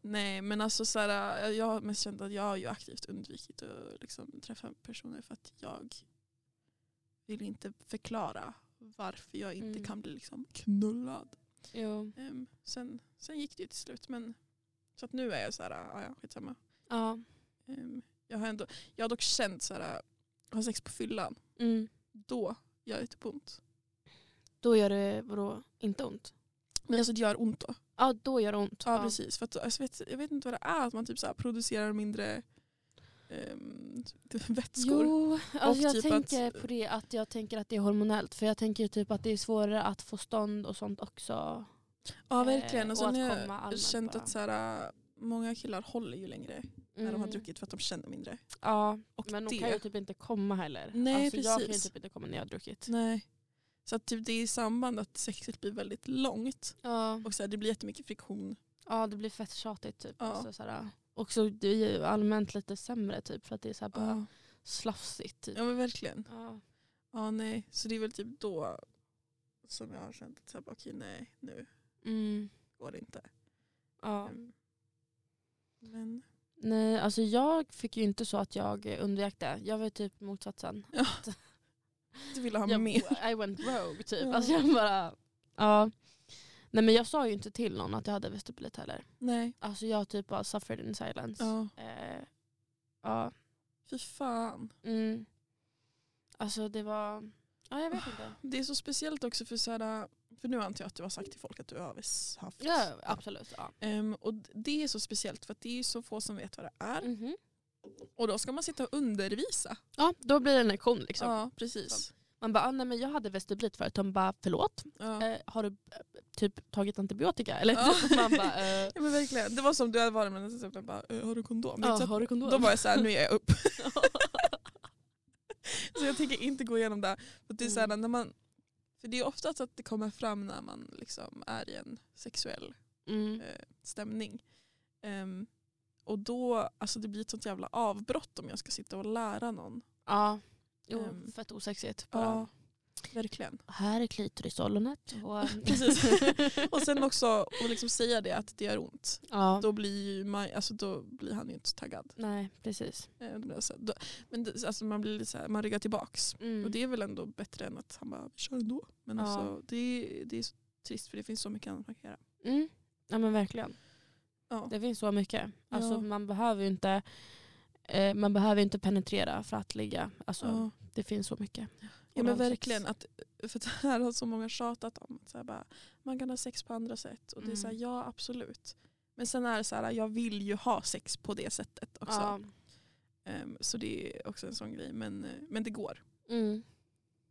Speaker 2: Nej men alltså så här, jag- jag har mest känt att jag har ju aktivt undvikit att liksom, träffa personer för att jag vill inte förklara varför jag inte
Speaker 1: Mm.
Speaker 2: kan bli liksom, knullad.
Speaker 1: Jo.
Speaker 2: Ehm, sen, sen gick det ju till slut men så att nu är jag så här, ja ja skitsamma.
Speaker 1: Ja.
Speaker 2: Ehm, jag, har ändå, jag har dock känt så här, har sex på fyllan,
Speaker 1: Mm.
Speaker 2: då gör det typ ont.
Speaker 1: Då gör det vadå, inte ont?
Speaker 2: Men alltså det gör ont då.
Speaker 1: Ja då gör det ont.
Speaker 2: Ja, precis. För att, alltså, vet, jag vet inte vad det är att man typ så här producerar mindre ehm, vätskor.
Speaker 1: Jo, alltså
Speaker 2: Och
Speaker 1: jag
Speaker 2: typ att-
Speaker 1: tänker på det att jag tänker att det är hormonellt. För jag tänker ju typ att det är svårare att få stånd och sånt också.
Speaker 2: ja
Speaker 1: eh,
Speaker 2: verkligen. Och
Speaker 1: och
Speaker 2: sen
Speaker 1: att
Speaker 2: har
Speaker 1: komma
Speaker 2: jag
Speaker 1: allmänt
Speaker 2: känt
Speaker 1: bara.
Speaker 2: att så här, äh, många killar håller ju längre när de har
Speaker 1: Mm.
Speaker 2: druckit för att de känner mindre.
Speaker 1: Ja,
Speaker 2: Och
Speaker 1: men
Speaker 2: det,
Speaker 1: de kan ju typ inte komma heller.
Speaker 2: Nej,
Speaker 1: alltså, Jag kan ju
Speaker 2: precis.
Speaker 1: typ inte komma när jag har druckit.
Speaker 2: nej. Så att typ det är i samband att sexet blir väldigt långt
Speaker 1: Ja,
Speaker 2: och så här, det blir jättemycket friktion.
Speaker 1: ja det blir fett tjatigt typ.
Speaker 2: Ja.
Speaker 1: Alltså, såhär, och så det är ju allmänt lite sämre typ för att det är såhär bara
Speaker 2: Ja.
Speaker 1: slafsigt. Typ.
Speaker 2: ja men verkligen.
Speaker 1: Ja.
Speaker 2: Ja nej. Så det är väl typ då som jag har känt att så här, bara, okej nej nu
Speaker 1: Mm,
Speaker 2: går det inte.
Speaker 1: ja.
Speaker 2: Ehm, Men
Speaker 1: Nej, alltså jag fick ju inte så att jag eh, undvek det. Jag var ju typ motsatsen.
Speaker 2: Ja. du ville ha
Speaker 1: jag,
Speaker 2: mer.
Speaker 1: I went rogue typ.
Speaker 2: Ja.
Speaker 1: Alltså jag bara, ja. Nej men jag sa ju inte till någon att jag hade vestibulit heller.
Speaker 2: Nej.
Speaker 1: Alltså jag typ bara suffered in silence.
Speaker 2: Ja.
Speaker 1: Eh, ja.
Speaker 2: Fy fan.
Speaker 1: Mm. Alltså det var, ja jag vet inte.
Speaker 2: Det är så speciellt också för såhär, för nu antar jag att du har sagt till folk att du har haft.
Speaker 1: Ja absolut. Ja.
Speaker 2: Ehm, och det är så speciellt för att det är ju så få som vet vad det är.
Speaker 1: Mhm.
Speaker 2: Och då ska man sitta och undervisa.
Speaker 1: ja då blir det en lektion liksom.
Speaker 2: Ja, precis.
Speaker 1: Man bara, ah, nej men jag hade vestibulit förut. De bara, förlåt?
Speaker 2: Ja.
Speaker 1: Eh, har du eh, typ tagit antibiotika? Eller
Speaker 2: Ja.
Speaker 1: man bara, eh,
Speaker 2: ja men verkligen. Det var som du hade varit med en sån bara, "Eh, har du kondom? Det är
Speaker 1: ja,
Speaker 2: inte så att-
Speaker 1: har du kondom?
Speaker 2: Då var jag såhär, nu är jag upp. så jag tänker inte gå igenom det. För, att det, är såhär,
Speaker 1: Mm.
Speaker 2: när man, för det är ofta så att det kommer fram när man liksom är i en sexuell
Speaker 1: mm.
Speaker 2: eh, stämning. Ehm, och då, alltså det blir ett sånt jävla avbrott om jag ska sitta och lära någon.
Speaker 1: Ja. Jo,
Speaker 2: Ehm.
Speaker 1: fett osexigt. Bara.
Speaker 2: Ja. Verkligen.
Speaker 1: Här är klitorisollonet. Och...
Speaker 2: Precis. och sen också att liksom säga det att det gör ont.
Speaker 1: ja.
Speaker 2: Då blir, ju man, alltså då blir han ju inte så taggad.
Speaker 1: Nej, precis.
Speaker 2: Eh, då blir jag så här, då, men det, alltså man, blir lite så här, man ryggar tillbaks.
Speaker 1: Mm.
Speaker 2: Och det är väl ändå bättre än att han bara kör ändå. Men
Speaker 1: Ja.
Speaker 2: alltså, det, det är så trist för det finns så mycket annat man kan göra.
Speaker 1: Mm. Ja men verkligen.
Speaker 2: Ja.
Speaker 1: Det finns så mycket. Alltså,
Speaker 2: Ja.
Speaker 1: man, behöver ju inte, eh, man behöver ju inte penetrera för att ligga. Alltså,
Speaker 2: Ja.
Speaker 1: Det finns så mycket.
Speaker 2: Ja men
Speaker 1: Oralsex.
Speaker 2: verkligen. Att, för det här har så många tjatat om. Att så här bara, man kan ha sex på andra sätt. Och det är så här,
Speaker 1: Mm.
Speaker 2: ja absolut. Men sen är det så här, jag vill ju ha sex på det sättet också.
Speaker 1: Ja.
Speaker 2: Ehm, så det är också en sån grej. Men, eh, men det går
Speaker 1: Mm.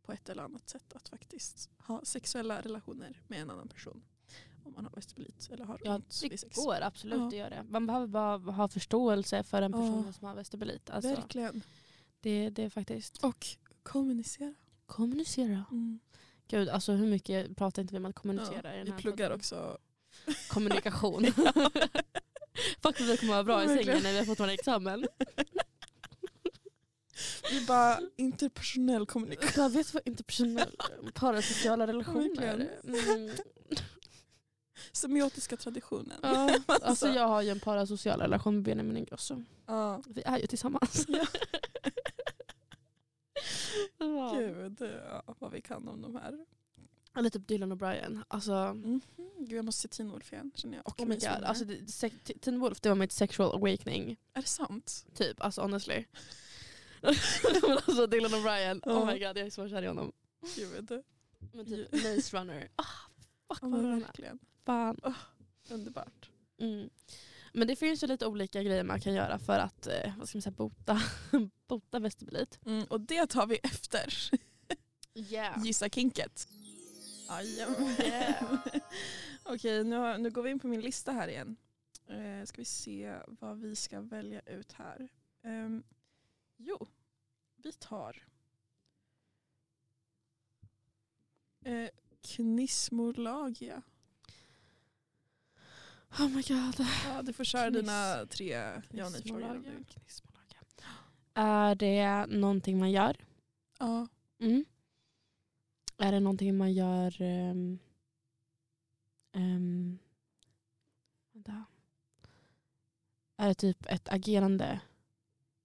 Speaker 2: på ett eller annat sätt att faktiskt ha sexuella relationer med en annan person. Om man har vestibulit eller har
Speaker 1: Ja,
Speaker 2: ont vid
Speaker 1: det
Speaker 2: sex.
Speaker 1: går absolut
Speaker 2: Ja.
Speaker 1: att göra det. Man behöver bara ha förståelse för en person
Speaker 2: Ja.
Speaker 1: som har vestibulit. Alltså,
Speaker 2: Verkligen.
Speaker 1: det, det är faktiskt...
Speaker 2: Och kommunicera.
Speaker 1: Kommunicera.
Speaker 2: Mm.
Speaker 1: Gud, alltså hur mycket pratar inte vi om att
Speaker 2: Ja,
Speaker 1: kommunicera i den
Speaker 2: vi
Speaker 1: här
Speaker 2: pluggar
Speaker 1: podden?
Speaker 2: också.
Speaker 1: kommunikation. Fuck vad vi kommer vara bra i
Speaker 2: Verkligen.
Speaker 1: sängen när vi har fått vår examen.
Speaker 2: Vi bara interpersonell kommunikation.
Speaker 1: Jag vet vad interpersonell parasociala relationer. Mm.
Speaker 2: Semiotiska traditionen.
Speaker 1: Ja, alltså jag har ju en parasocial relation med Benjamin Ingrosso.
Speaker 2: Ja.
Speaker 1: Vi är ju tillsammans.
Speaker 2: Ja.
Speaker 1: Ja.
Speaker 2: Gud, ja, vad vi kan om de här. Mhm.
Speaker 1: Eller typ Dylan och Brian. Alltså,
Speaker 2: Gud, jag måste se Teen Wolf igen känner jag. Och
Speaker 1: oh my
Speaker 2: Miss
Speaker 1: God.
Speaker 2: Winner.
Speaker 1: alltså det, se- T- Teen Wolf det var mitt sexual awakening.
Speaker 2: är det sant?
Speaker 1: Typ, alltså honestly. Men alltså Dylan och Brian, oh
Speaker 2: Ja.
Speaker 1: my god jag är så kär i honom.
Speaker 2: Gud.
Speaker 1: Men typ Maze Runner. Ah, fuck
Speaker 2: Ja,
Speaker 1: vad
Speaker 2: men
Speaker 1: bra den är.
Speaker 2: verkligen.
Speaker 1: Fan.
Speaker 2: Underbart.
Speaker 1: Mm. Men det finns ju lite olika grejer man kan göra för att eh, vad ska man säga, bota, bota vestibulit.
Speaker 2: Mm, och det tar vi efter.
Speaker 1: Yeah.
Speaker 2: Gissa kinket. Jajamän.
Speaker 1: Yeah.
Speaker 2: Okej, nu, har, nu går vi in på min lista här igen. Eh, ska vi se vad vi ska välja ut här. Ehm, jo, vi tar eh, knismolagia.
Speaker 1: Oh my god.
Speaker 2: Ja, du får köra
Speaker 1: Kniss.
Speaker 2: dina tre ja nej
Speaker 1: Knissmolaga.
Speaker 2: frågor.
Speaker 1: Knissmolaga. Är det någonting man gör?
Speaker 2: Ja.
Speaker 1: Mm. Är det någonting man gör... ehm, ehm, vänta. Är det typ ett agerande?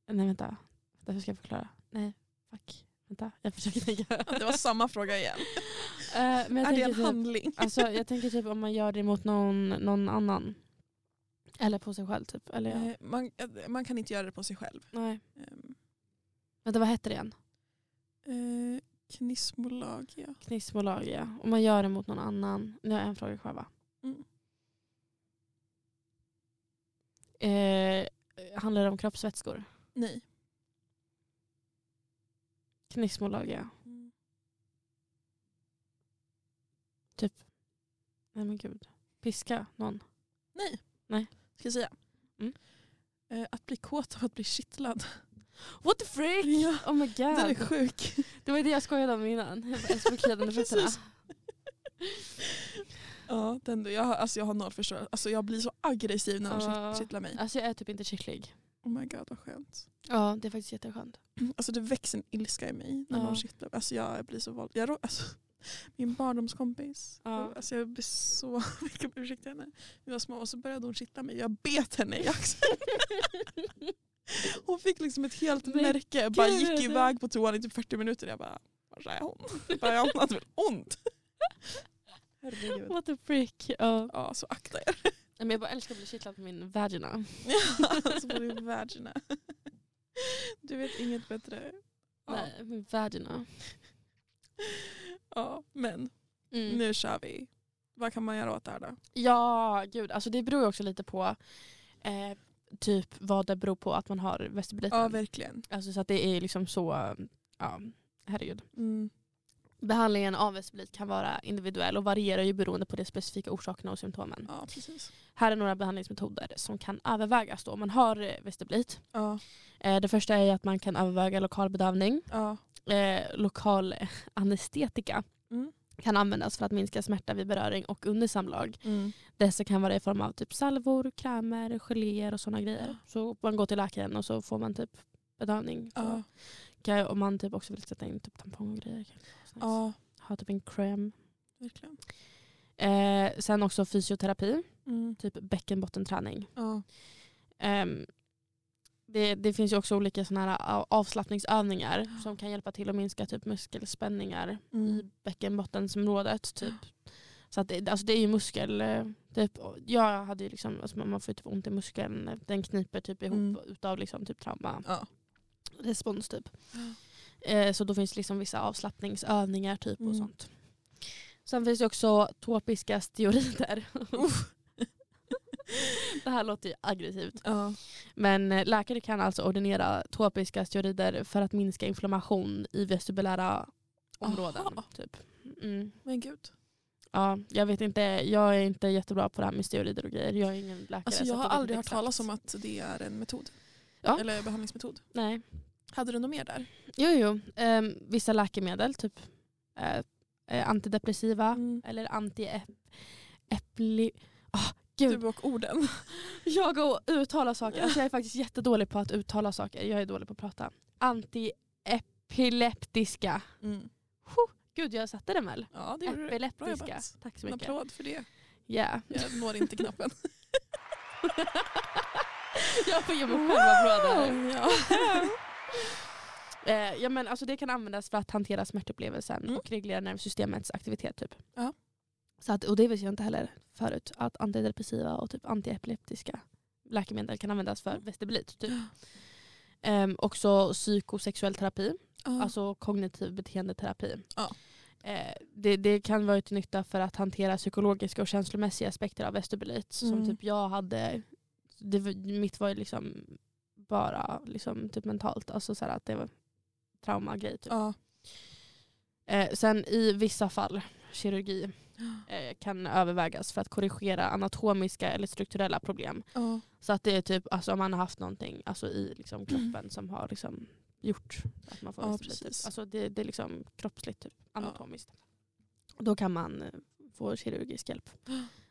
Speaker 1: Nej vänta. vänta. Hur ska jag förklara? Nej, fuck. Vänta, jag försöker tänka.
Speaker 2: Det var samma fråga igen.
Speaker 1: Eh, men jag
Speaker 2: är det en
Speaker 1: tänker typ,
Speaker 2: handling?
Speaker 1: alltså, jag tänker typ om man gör det mot någon, någon annan. Eller på sig själv typ. Eller, ja.
Speaker 2: Eh, Man, eh, man kan inte göra det på sig själv.
Speaker 1: Nej.
Speaker 2: Ehm,
Speaker 1: Vänta, vad heter det igen?
Speaker 2: Eh, knissmolagia.
Speaker 1: Knissbolag ja. Om man gör det mot någon annan. Nu har jag en fråga kvar va?
Speaker 2: Mm.
Speaker 1: Eh, handlar det om kroppsvätskor?
Speaker 2: Nej.
Speaker 1: Knissbolag ja. Nej men gud. Piska någon?
Speaker 2: Nej.
Speaker 1: Nej.
Speaker 2: Ska jag säga.
Speaker 1: Mm.
Speaker 2: Eh, att bli kåt av att bli kittlad.
Speaker 1: What the freak?
Speaker 2: Ja.
Speaker 1: Oh my
Speaker 2: Den är
Speaker 1: god.
Speaker 2: sjuk.
Speaker 1: Det var det jag skojade om innan. Jag bara, Jag spökade under fötterna.
Speaker 2: Precis. Ja, den, jag, har- alltså jag har noll förståelse. Alltså jag blir så aggressiv när någon
Speaker 1: Ja.
Speaker 2: kitt- kittlar mig.
Speaker 1: Alltså jag är typ inte kycklig.
Speaker 2: Oh my god vad skönt.
Speaker 1: Ja det är faktiskt jätteskönt.
Speaker 2: Alltså det växer en ilska i mig när
Speaker 1: Ja.
Speaker 2: någon kittlar mig. Alltså jag blir så våld. Jag, rå- alltså, min barndomskompis.
Speaker 1: Ja.
Speaker 2: Alltså jag blir så... Jag kan ursäkta henne. Vi var små och så började hon kittla mig. Jag bet henne i axeln. Hon fick liksom ett helt
Speaker 1: Men
Speaker 2: märke. Bara
Speaker 1: gud. alltså.
Speaker 2: gick iväg på toan i typ 40 minuter. Jag bara, var är hon? Bara, "Ja, hon hade väl ont? Herregud.
Speaker 1: What the freak. Ja.
Speaker 2: Ja, så akta er.
Speaker 1: Nej, Men jag bara älskar att bli kittlad på min vagina.
Speaker 2: alltså på din vagina. Du vet inget bättre. Ja.
Speaker 1: Nej, min vagina.
Speaker 2: Ja, men
Speaker 1: Mm.
Speaker 2: nu kör vi. Vad kan man göra åt det här då?
Speaker 1: Ja, gud. Alltså det beror ju också lite på eh, typ vad det beror på att man har
Speaker 2: Ja,
Speaker 1: vestibulitis.
Speaker 2: verkligen.
Speaker 1: alltså så att det är liksom så, ja, herregud.
Speaker 2: Mm.
Speaker 1: Behandlingen av vestibulit kan vara individuell och varierar ju beroende på de specifika orsakerna och symptomen.
Speaker 2: Ja, precis.
Speaker 1: Här är några behandlingsmetoder som kan övervägas då om man har eh, vestibulit.
Speaker 2: Ja,
Speaker 1: Eh, det första är ju att man kan överväga lokal bedövning.
Speaker 2: ja.
Speaker 1: Eh, lokal anestetika
Speaker 2: Mm.
Speaker 1: kan användas för att minska smärta vid beröring och under samlag.
Speaker 2: Mm.
Speaker 1: Dessa kan vara i form av typ salvor, krämer, geléer och sådana grejer. Så man går till läkaren och så får man typ bedövning. Så
Speaker 2: Ja,
Speaker 1: kan, om man typ också vill sätta in typ tampong och grejer. Kan det vara nice.
Speaker 2: ja,
Speaker 1: Ha typ en kräm.
Speaker 2: verkligen.
Speaker 1: Eh, sen också fysioterapi,
Speaker 2: Mm.
Speaker 1: typ bäckenbottenträning.
Speaker 2: Ja,
Speaker 1: Ehm, det, det finns ju också olika såna här av- avslappningsövningar som kan hjälpa till att minska typ muskelspänningar i
Speaker 2: mm.
Speaker 1: bäckenbottensområdet. Typ. Så att det, alltså det är ju muskel... eh, Typ, jag hade ju liksom, alltså man får ju typ ont i muskeln. Den kniper typ ihop
Speaker 2: Mm.
Speaker 1: utav liksom typ trauma.
Speaker 2: ja.
Speaker 1: Respons typ.
Speaker 2: Ja.
Speaker 1: Eh, så då finns det liksom vissa avslappningsövningar typ
Speaker 2: Mm.
Speaker 1: och sånt. Sen finns det också topiska steorider. det här låter ju aggressivt.
Speaker 2: ja.
Speaker 1: Men eh, läkare kan alltså ordinera topiska steroider för att minska inflammation i vestibulära områden.
Speaker 2: Aha.
Speaker 1: Typ. Mm.
Speaker 2: Men gud.
Speaker 1: Ja, jag vet inte, jag är inte jättebra på det här med steroider och grejer. Jag är ingen läkare.
Speaker 2: Alltså jag
Speaker 1: så
Speaker 2: har
Speaker 1: att vet
Speaker 2: aldrig
Speaker 1: inte
Speaker 2: hört
Speaker 1: exakt.
Speaker 2: talas om att det är en metod.
Speaker 1: Ja.
Speaker 2: Eller behandlingsmetod.
Speaker 1: Nej.
Speaker 2: Hade du något mer där?
Speaker 1: Jo, jo. Ehm, vissa läkemedel, typ eh, eh, antidepressiva
Speaker 2: Mm.
Speaker 1: eller anti-epli... Ah, gud,
Speaker 2: Du och orden.
Speaker 1: jag och uttala saker. Alltså jag är faktiskt jättedålig på att uttala saker. Jag är dålig på att prata. Antiepileptiska.
Speaker 2: Mm.
Speaker 1: Gud, jag satte den väl?
Speaker 2: Ja, det gjorde du. Bra
Speaker 1: Epileptiska.
Speaker 2: jobbat.
Speaker 1: Tack så
Speaker 2: En
Speaker 1: mycket.
Speaker 2: applåd för det.
Speaker 1: Yeah.
Speaker 2: Jag når inte knappen.
Speaker 1: jag får ge mig själv applåder.
Speaker 2: Ja.
Speaker 1: Eh, ja, men alltså det kan användas för att hantera smärtupplevelsen
Speaker 2: Mm.
Speaker 1: och reglera nervsystemets aktivitet. Typ.
Speaker 2: Ja.
Speaker 1: Så att, och det visste jag inte heller förut. Att antidepressiva och typ antiepileptiska läkemedel kan användas
Speaker 2: Mm.
Speaker 1: för vestibulit. Typ. Ehm, också psykosexuell terapi,
Speaker 2: Ja.
Speaker 1: alltså kognitiv beteendeterapi.
Speaker 2: Ja.
Speaker 1: Eh, det, det kan vara till nytta för att hantera psykologiska och känslomässiga aspekter av vestibulit.
Speaker 2: Mm.
Speaker 1: Som typ jag hade, det, var- mitt var ju liksom bara liksom typ mentalt, alltså så här att det var traumagrej. Typ.
Speaker 2: ja.
Speaker 1: Eh, sen i vissa fall, kirurgi eh, kan övervägas för att korrigera anatomiska eller strukturella problem.
Speaker 2: ja.
Speaker 1: Så att det är typ alltså, om man har haft någonting alltså, i liksom, kroppen som har liksom, gjort att man får
Speaker 2: Ja,
Speaker 1: vestibulit.
Speaker 2: precis.
Speaker 1: Alltså det, det är liksom kroppsligt, typ, anatomiskt. Då kan man eh, få kirurgisk hjälp.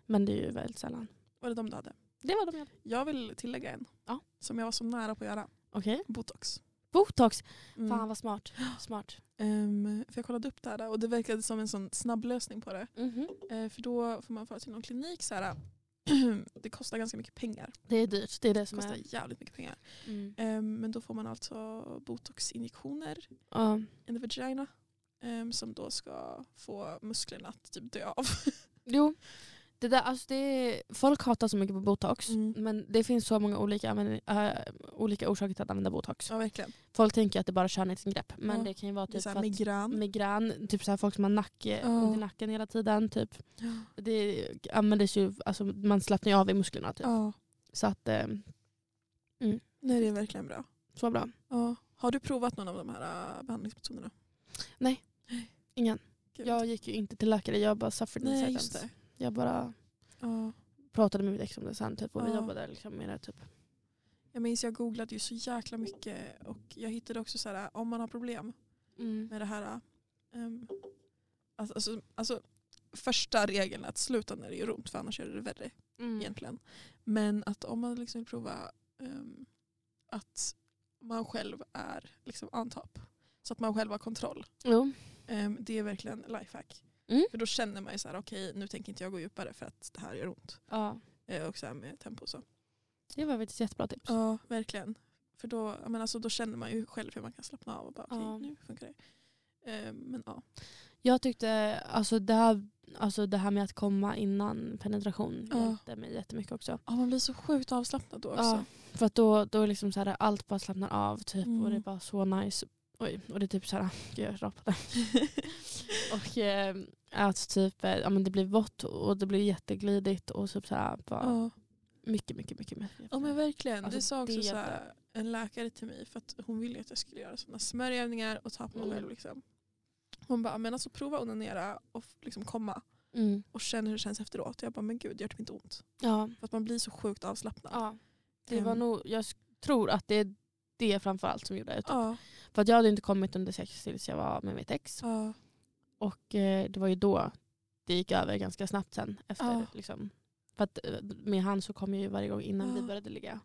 Speaker 1: Men det är ju väldigt sällan.
Speaker 2: Var det de du hade?
Speaker 1: Det var de jag hade.
Speaker 2: Jag vill tillägga en.
Speaker 1: Ja.
Speaker 2: Som jag var så nära på att göra.
Speaker 1: Okej.
Speaker 2: Botox.
Speaker 1: Botox.
Speaker 2: Mm.
Speaker 1: Fan vad smart. Smart.
Speaker 2: Ehm, för jag kollade upp det här och det verkade som en sån snabb lösning på det.
Speaker 1: Mm-hmm.
Speaker 2: Eh, för då får man föra till någon klinik så här. det kostar ganska mycket pengar.
Speaker 1: Det är dyrt. Det är det
Speaker 2: Det
Speaker 1: som
Speaker 2: kostar
Speaker 1: är...
Speaker 2: jävligt mycket pengar.
Speaker 1: Mm.
Speaker 2: Ehm, men då får man alltså botoxinjektioner
Speaker 1: Ja.
Speaker 2: in the vagina. ehm, som då ska få musklerna att typ dö av.
Speaker 1: Jo. Det där, alltså det är, folk hatar så mycket på botox.
Speaker 2: Mm.
Speaker 1: Men det finns så många olika, använd, äh, olika orsaker till att använda botox.
Speaker 2: ja verkligen.
Speaker 1: Folk tänker att det bara är skönhetsingrepp. Men
Speaker 2: Ja.
Speaker 1: det kan ju vara
Speaker 2: Det är
Speaker 1: typ
Speaker 2: så
Speaker 1: för
Speaker 2: här
Speaker 1: att
Speaker 2: migrän.
Speaker 1: migrän, typ så här folk som har nacke,
Speaker 2: Ja.
Speaker 1: ont i nacken hela tiden. Typ.
Speaker 2: Ja.
Speaker 1: Det användes ju, alltså, man slappnar ju av i musklerna. Typ.
Speaker 2: ja.
Speaker 1: Så att, eh,
Speaker 2: Nej det är verkligen bra.
Speaker 1: så bra.
Speaker 2: Ja. Har du provat någon av de här äh, behandlingsmetoderna?
Speaker 1: Ingen.
Speaker 2: Gud.
Speaker 1: Jag gick ju inte till läkare, jag bara suffered in
Speaker 2: Nej
Speaker 1: silence.
Speaker 2: just det.
Speaker 1: Jag bara
Speaker 2: Ja.
Speaker 1: pratade med mitt ex om det sen typ, och vi
Speaker 2: Ja.
Speaker 1: jobbade liksom med det. Typ.
Speaker 2: Jag minns jag googlade ju så jäkla mycket och jag hittade också så här äh, om man har problem
Speaker 1: Mm.
Speaker 2: med det här. Um, alltså, alltså, alltså första regeln är att sluta när det gör ont för annars gör det värre
Speaker 1: Mm.
Speaker 2: egentligen. Men att om man liksom vill prova ehm, att man själv är liksom on top. Så att man själv har kontroll.
Speaker 1: Jo.
Speaker 2: Ehm, det är verkligen lifehack.
Speaker 1: Mm.
Speaker 2: För då känner man ju så här okej nu tänker inte jag gå djupare för att det här gör ont.
Speaker 1: Ja.
Speaker 2: Eh, och så här med tempo och så.
Speaker 1: Det var faktiskt ett jättebra tips.
Speaker 2: Ja, verkligen. För då, jag menar, alltså, då känner man ju själv hur man kan slappna av och bara okej,
Speaker 1: Ja.
Speaker 2: nu funkar det. Eh, men ja.
Speaker 1: Jag tyckte alltså det, här, alltså det här med att komma innan penetration
Speaker 2: Ja.
Speaker 1: hjälpte mig jättemycket också.
Speaker 2: ja, man blir så sjukt avslappnad då också.
Speaker 1: Ja, för att då, då är liksom så här, allt bara slappnar av typ, och
Speaker 2: Mm.
Speaker 1: det är bara så nice. Oj, och det är typ så här, gud, jag rapade. och eh, att typ, eh, ja, men det blir vått och det blir jätteglidigt och typ så här, bara
Speaker 2: Ja.
Speaker 1: mycket, mycket, mycket mer.
Speaker 2: Ja, men verkligen.
Speaker 1: Alltså,
Speaker 2: det sa också
Speaker 1: det-
Speaker 2: så här, en läkare till mig för att hon ville att jag skulle göra sådana smörjövningar och ta på mig
Speaker 1: Mm.
Speaker 2: själv. Liksom. Hon bara, men alltså prova att onanera och f- liksom komma
Speaker 1: Mm.
Speaker 2: och känna hur det känns efteråt. Jag bara, men gud det gör typ inte ont.
Speaker 1: Ja,
Speaker 2: För att man blir så sjukt avslappnad.
Speaker 1: ja. Det
Speaker 2: Ehm,
Speaker 1: var nog, jag s- tror att det är det framförallt som gjorde det. typ.
Speaker 2: ja,
Speaker 1: För att jag hade inte kommit under sex tills jag var med mitt ex.
Speaker 2: ja,
Speaker 1: Och eh, det var ju då det gick över ganska snabbt sen. Efter,
Speaker 2: Ja.
Speaker 1: liksom. För att eh, med han så kom jag ju varje gång innan vi
Speaker 2: Ja.
Speaker 1: började ligga.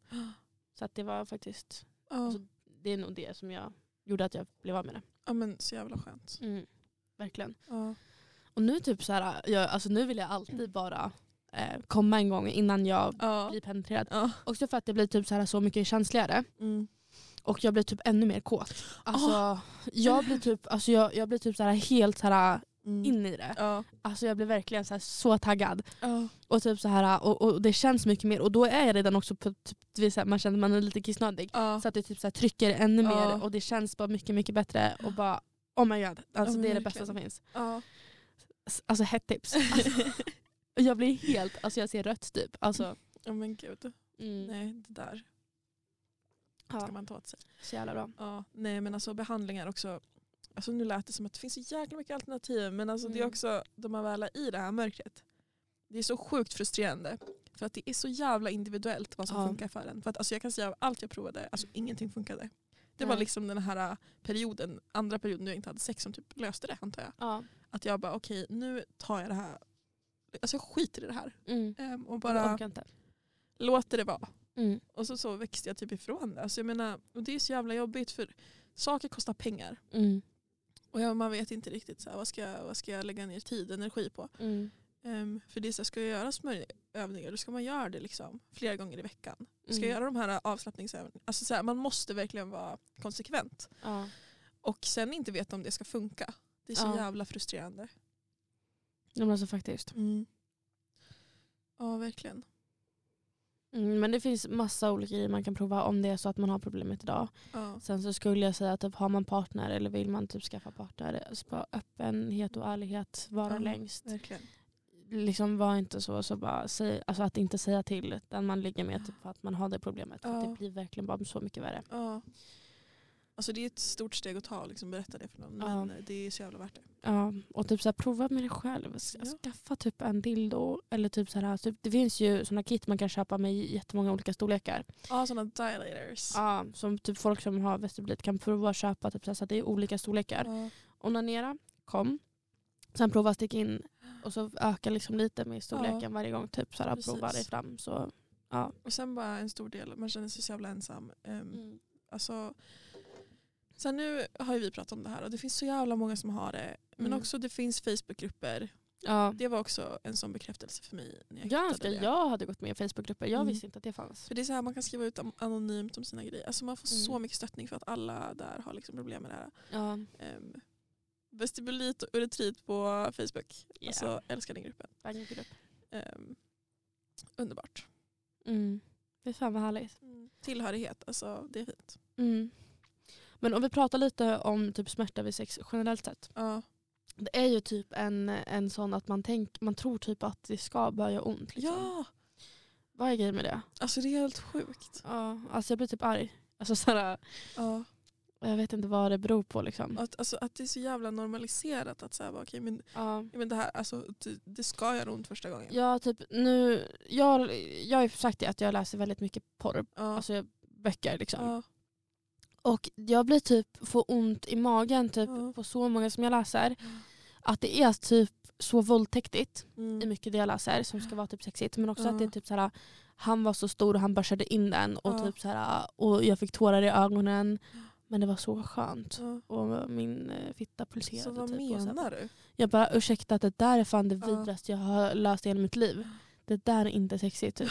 Speaker 1: Så att det var faktiskt,
Speaker 2: ja.
Speaker 1: Alltså- det är nog det som jag gjorde att jag blev av med det.
Speaker 2: ja men så jävla skönt.
Speaker 1: Verkligen.
Speaker 2: Ja.
Speaker 1: Och nu typ så här, jag, alltså nu vill jag alltid bara eh, komma en gång innan jag
Speaker 2: Ja.
Speaker 1: blir penetrerad.
Speaker 2: Ja.
Speaker 1: Också för att det blir typ så, här, så mycket känsligare.
Speaker 2: Mm.
Speaker 1: Och jag blir typ ännu mer kåt. Alltså, jag blir typ, alltså jag, jag blir typ så här helt så här
Speaker 2: Mm.
Speaker 1: in i det.
Speaker 2: Ja.
Speaker 1: Alltså jag blir verkligen så, här så taggad.
Speaker 2: Ja.
Speaker 1: Och, typ så här, och, och det känns mycket mer. Och då är jag redan också på, typ, det är så här, man känner att man är lite kissnödig.
Speaker 2: Ja.
Speaker 1: Så att det typ så här, trycker ännu
Speaker 2: Ja.
Speaker 1: mer och det känns bara mycket mycket bättre. Och bara oh my god, alltså,
Speaker 2: men
Speaker 1: det är det
Speaker 2: verkligen.
Speaker 1: bästa som finns.
Speaker 2: ja.
Speaker 1: S- Alltså hett tips. Alltså, och jag blir helt, alltså jag ser rött typ. Alltså,
Speaker 2: ja men gud.
Speaker 1: mm,
Speaker 2: Nej det där ska
Speaker 1: ja,
Speaker 2: man ta åt sig.
Speaker 1: så jävla bra.
Speaker 2: Ja. Nej men alltså behandlingar också. Alltså nu lät det som att det finns så jäkla mycket alternativ men alltså det är
Speaker 1: Mm.
Speaker 2: också de man väl är i det här mörkret. Det är så sjukt frustrerande. För att det är så jävla individuellt vad som
Speaker 1: Ja. Mm.
Speaker 2: funkar för en. För att alltså jag kan säga av allt jag provade, alltså ingenting funkade. Det var
Speaker 1: Nej.
Speaker 2: liksom den här äh, perioden, andra perioden när jag inte hade sex som typ löste det antar jag.
Speaker 1: Ja.
Speaker 2: Att jag bara okej nu tar jag det här, alltså jag skiter i det här.
Speaker 1: Mm.
Speaker 2: Ehm, Och
Speaker 1: Jag
Speaker 2: bara
Speaker 1: orkar inte.
Speaker 2: låter det vara.
Speaker 1: Mm.
Speaker 2: Och så, så växte jag typ ifrån det. Alltså jag menar, och det är så jävla jobbigt för saker kostar pengar.
Speaker 1: Mm.
Speaker 2: Och jag, man vet inte riktigt så här, vad, ska jag, vad ska jag lägga ner tid och energi på.
Speaker 1: Mm.
Speaker 2: Ehm, för det är så här, ska jag göra smörjövningar då ska man göra det liksom, flera gånger i veckan. Ska
Speaker 1: Mm.
Speaker 2: jag göra de här avslappningsövningarna? Alltså så här, man måste verkligen vara konsekvent.
Speaker 1: Ja.
Speaker 2: Och sen inte veta om det ska funka. Det är så
Speaker 1: Ja.
Speaker 2: jävla frustrerande.
Speaker 1: Ja, men alltså faktiskt.
Speaker 2: Ja verkligen.
Speaker 1: Mm, men det finns massa olika grejer man kan prova om det är så att man har problemet idag.
Speaker 2: Ja.
Speaker 1: Sen så skulle jag säga att typ, har man partner eller vill man typ skaffa partner, så bara öppenhet och ärlighet, vara
Speaker 2: Ja.
Speaker 1: längst.
Speaker 2: Verkligen.
Speaker 1: Liksom var inte så, så bara säg, alltså att inte säga till den man ligger med typ, för att man har det problemet. För att
Speaker 2: Ja.
Speaker 1: det blir verkligen bara så mycket värre.
Speaker 2: Ja. Alltså det är ett stort steg att ta, liksom berätta det för någon.
Speaker 1: Ja.
Speaker 2: Men det är så jävla värt det.
Speaker 1: Ja, och typ så här, prova med dig själv. S-
Speaker 2: Ja.
Speaker 1: Skaffa typ en dildo. Eller typ så här, typ, det finns ju sådana kit man kan köpa med jättemånga olika storlekar.
Speaker 2: Ja, sådana dilators.
Speaker 1: Ja, som typ folk som har vestibulit kan prova att köpa typ, så här, så att det är olika storlekar.
Speaker 2: Ja.
Speaker 1: Onanera, kom. Sen prova att sticka in Och så ökar liksom lite med storleken
Speaker 2: Ja.
Speaker 1: varje gång typ så här,
Speaker 2: Precis.
Speaker 1: provar det fram. Så, ja.
Speaker 2: Och sen bara en stor del, man känner sig så jävla ensam.
Speaker 1: Mm.
Speaker 2: Ehm, Alltså, sen nu har ju vi pratat om det här och det finns så jävla många som har det. Men
Speaker 1: Mm.
Speaker 2: också det finns Facebookgrupper.
Speaker 1: Ja.
Speaker 2: Det var också en sån bekräftelse för mig. När jag
Speaker 1: Ganska
Speaker 2: hittade det.
Speaker 1: jag hade gått med i Facebookgrupper. Jag
Speaker 2: Mm.
Speaker 1: visste inte att det fanns.
Speaker 2: För det är så här, man kan skriva ut am- anonymt om sina grejer. Alltså man får så
Speaker 1: Mm.
Speaker 2: mycket stöttning för att alla där har liksom problem med det här.
Speaker 1: Ja.
Speaker 2: Um, vestibulit och uretrit på Facebook.
Speaker 1: Yeah.
Speaker 2: Alltså älskar den gruppen.
Speaker 1: Banggrupp.
Speaker 2: Ehm, underbart.
Speaker 1: Mm. Fy fan vad härligt.
Speaker 2: Tillhörighet, alltså det är fint.
Speaker 1: Mm. Men om vi pratar lite om typ smärta vid sex generellt sett.
Speaker 2: Ja,
Speaker 1: Det är ju typ en, en sån att man, tänk, man tror typ att det ska börja göra ont. Liksom.
Speaker 2: ja.
Speaker 1: Vad är grejen med det?
Speaker 2: alltså det är helt sjukt.
Speaker 1: Ja, alltså jag blir typ arg. Alltså såhär,
Speaker 2: Ja.
Speaker 1: jag vet inte vad det beror på liksom.
Speaker 2: Att, alltså, att det är så jävla normaliserat att säga okej men,
Speaker 1: Ja.
Speaker 2: ja, men det här alltså, det, det ska göra ont första gången.
Speaker 1: Ja, typ nu, jag, jag har ju sagt det att jag läser väldigt mycket porr,
Speaker 2: Ja.
Speaker 1: alltså jag- böcker liksom.
Speaker 2: ja,
Speaker 1: Och jag blir typ, får ont i magen typ
Speaker 2: Ja.
Speaker 1: på så många som jag läser. Att det är typ så våldtäktigt i
Speaker 2: mm,
Speaker 1: mycket det jag läser som ska vara typ sexigt men också
Speaker 2: Ja.
Speaker 1: att det är typ såhär, han var så stor och han börsade in den och,
Speaker 2: Ja.
Speaker 1: typ såhär, och jag fick tårar i ögonen. Men det var så skönt.
Speaker 2: ja.
Speaker 1: Och min eh, fitta pulserade.
Speaker 2: Så vad
Speaker 1: typ, och
Speaker 2: menar du?
Speaker 1: Jag bara ursäkta det där är fan det
Speaker 2: Ja.
Speaker 1: vidrigaste jag har löst i hela mitt liv. Det där är inte sexigt typ.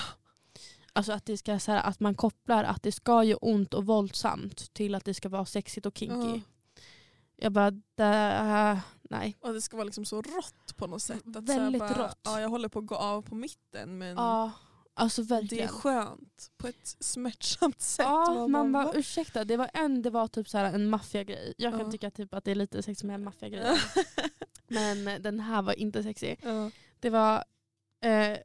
Speaker 1: Alltså att, det ska, så här, att man kopplar att det ska göra ont och våldsamt till att det ska vara sexigt och kinky.
Speaker 2: Ja.
Speaker 1: Jag bara, "Dä- nej.
Speaker 2: Och det ska vara liksom så rått på något sätt. Att
Speaker 1: Väldigt
Speaker 2: så här bara,
Speaker 1: rått.
Speaker 2: Ja, jag håller på att gå av på mitten men
Speaker 1: Ja, alltså
Speaker 2: Mm. det är
Speaker 1: verkligen.
Speaker 2: skönt på ett smärtsamt sätt.
Speaker 1: Ja,
Speaker 2: Man
Speaker 1: man
Speaker 2: bara,
Speaker 1: bara
Speaker 2: "Va?"
Speaker 1: ursäkta, det var en, det var typ så här en maffiagrej. Jag kan
Speaker 2: Ja.
Speaker 1: tycka typ att det är lite sexigt med maffiagrejer. Men eh, den här var inte sexig.
Speaker 2: ja.
Speaker 1: Det var, eh,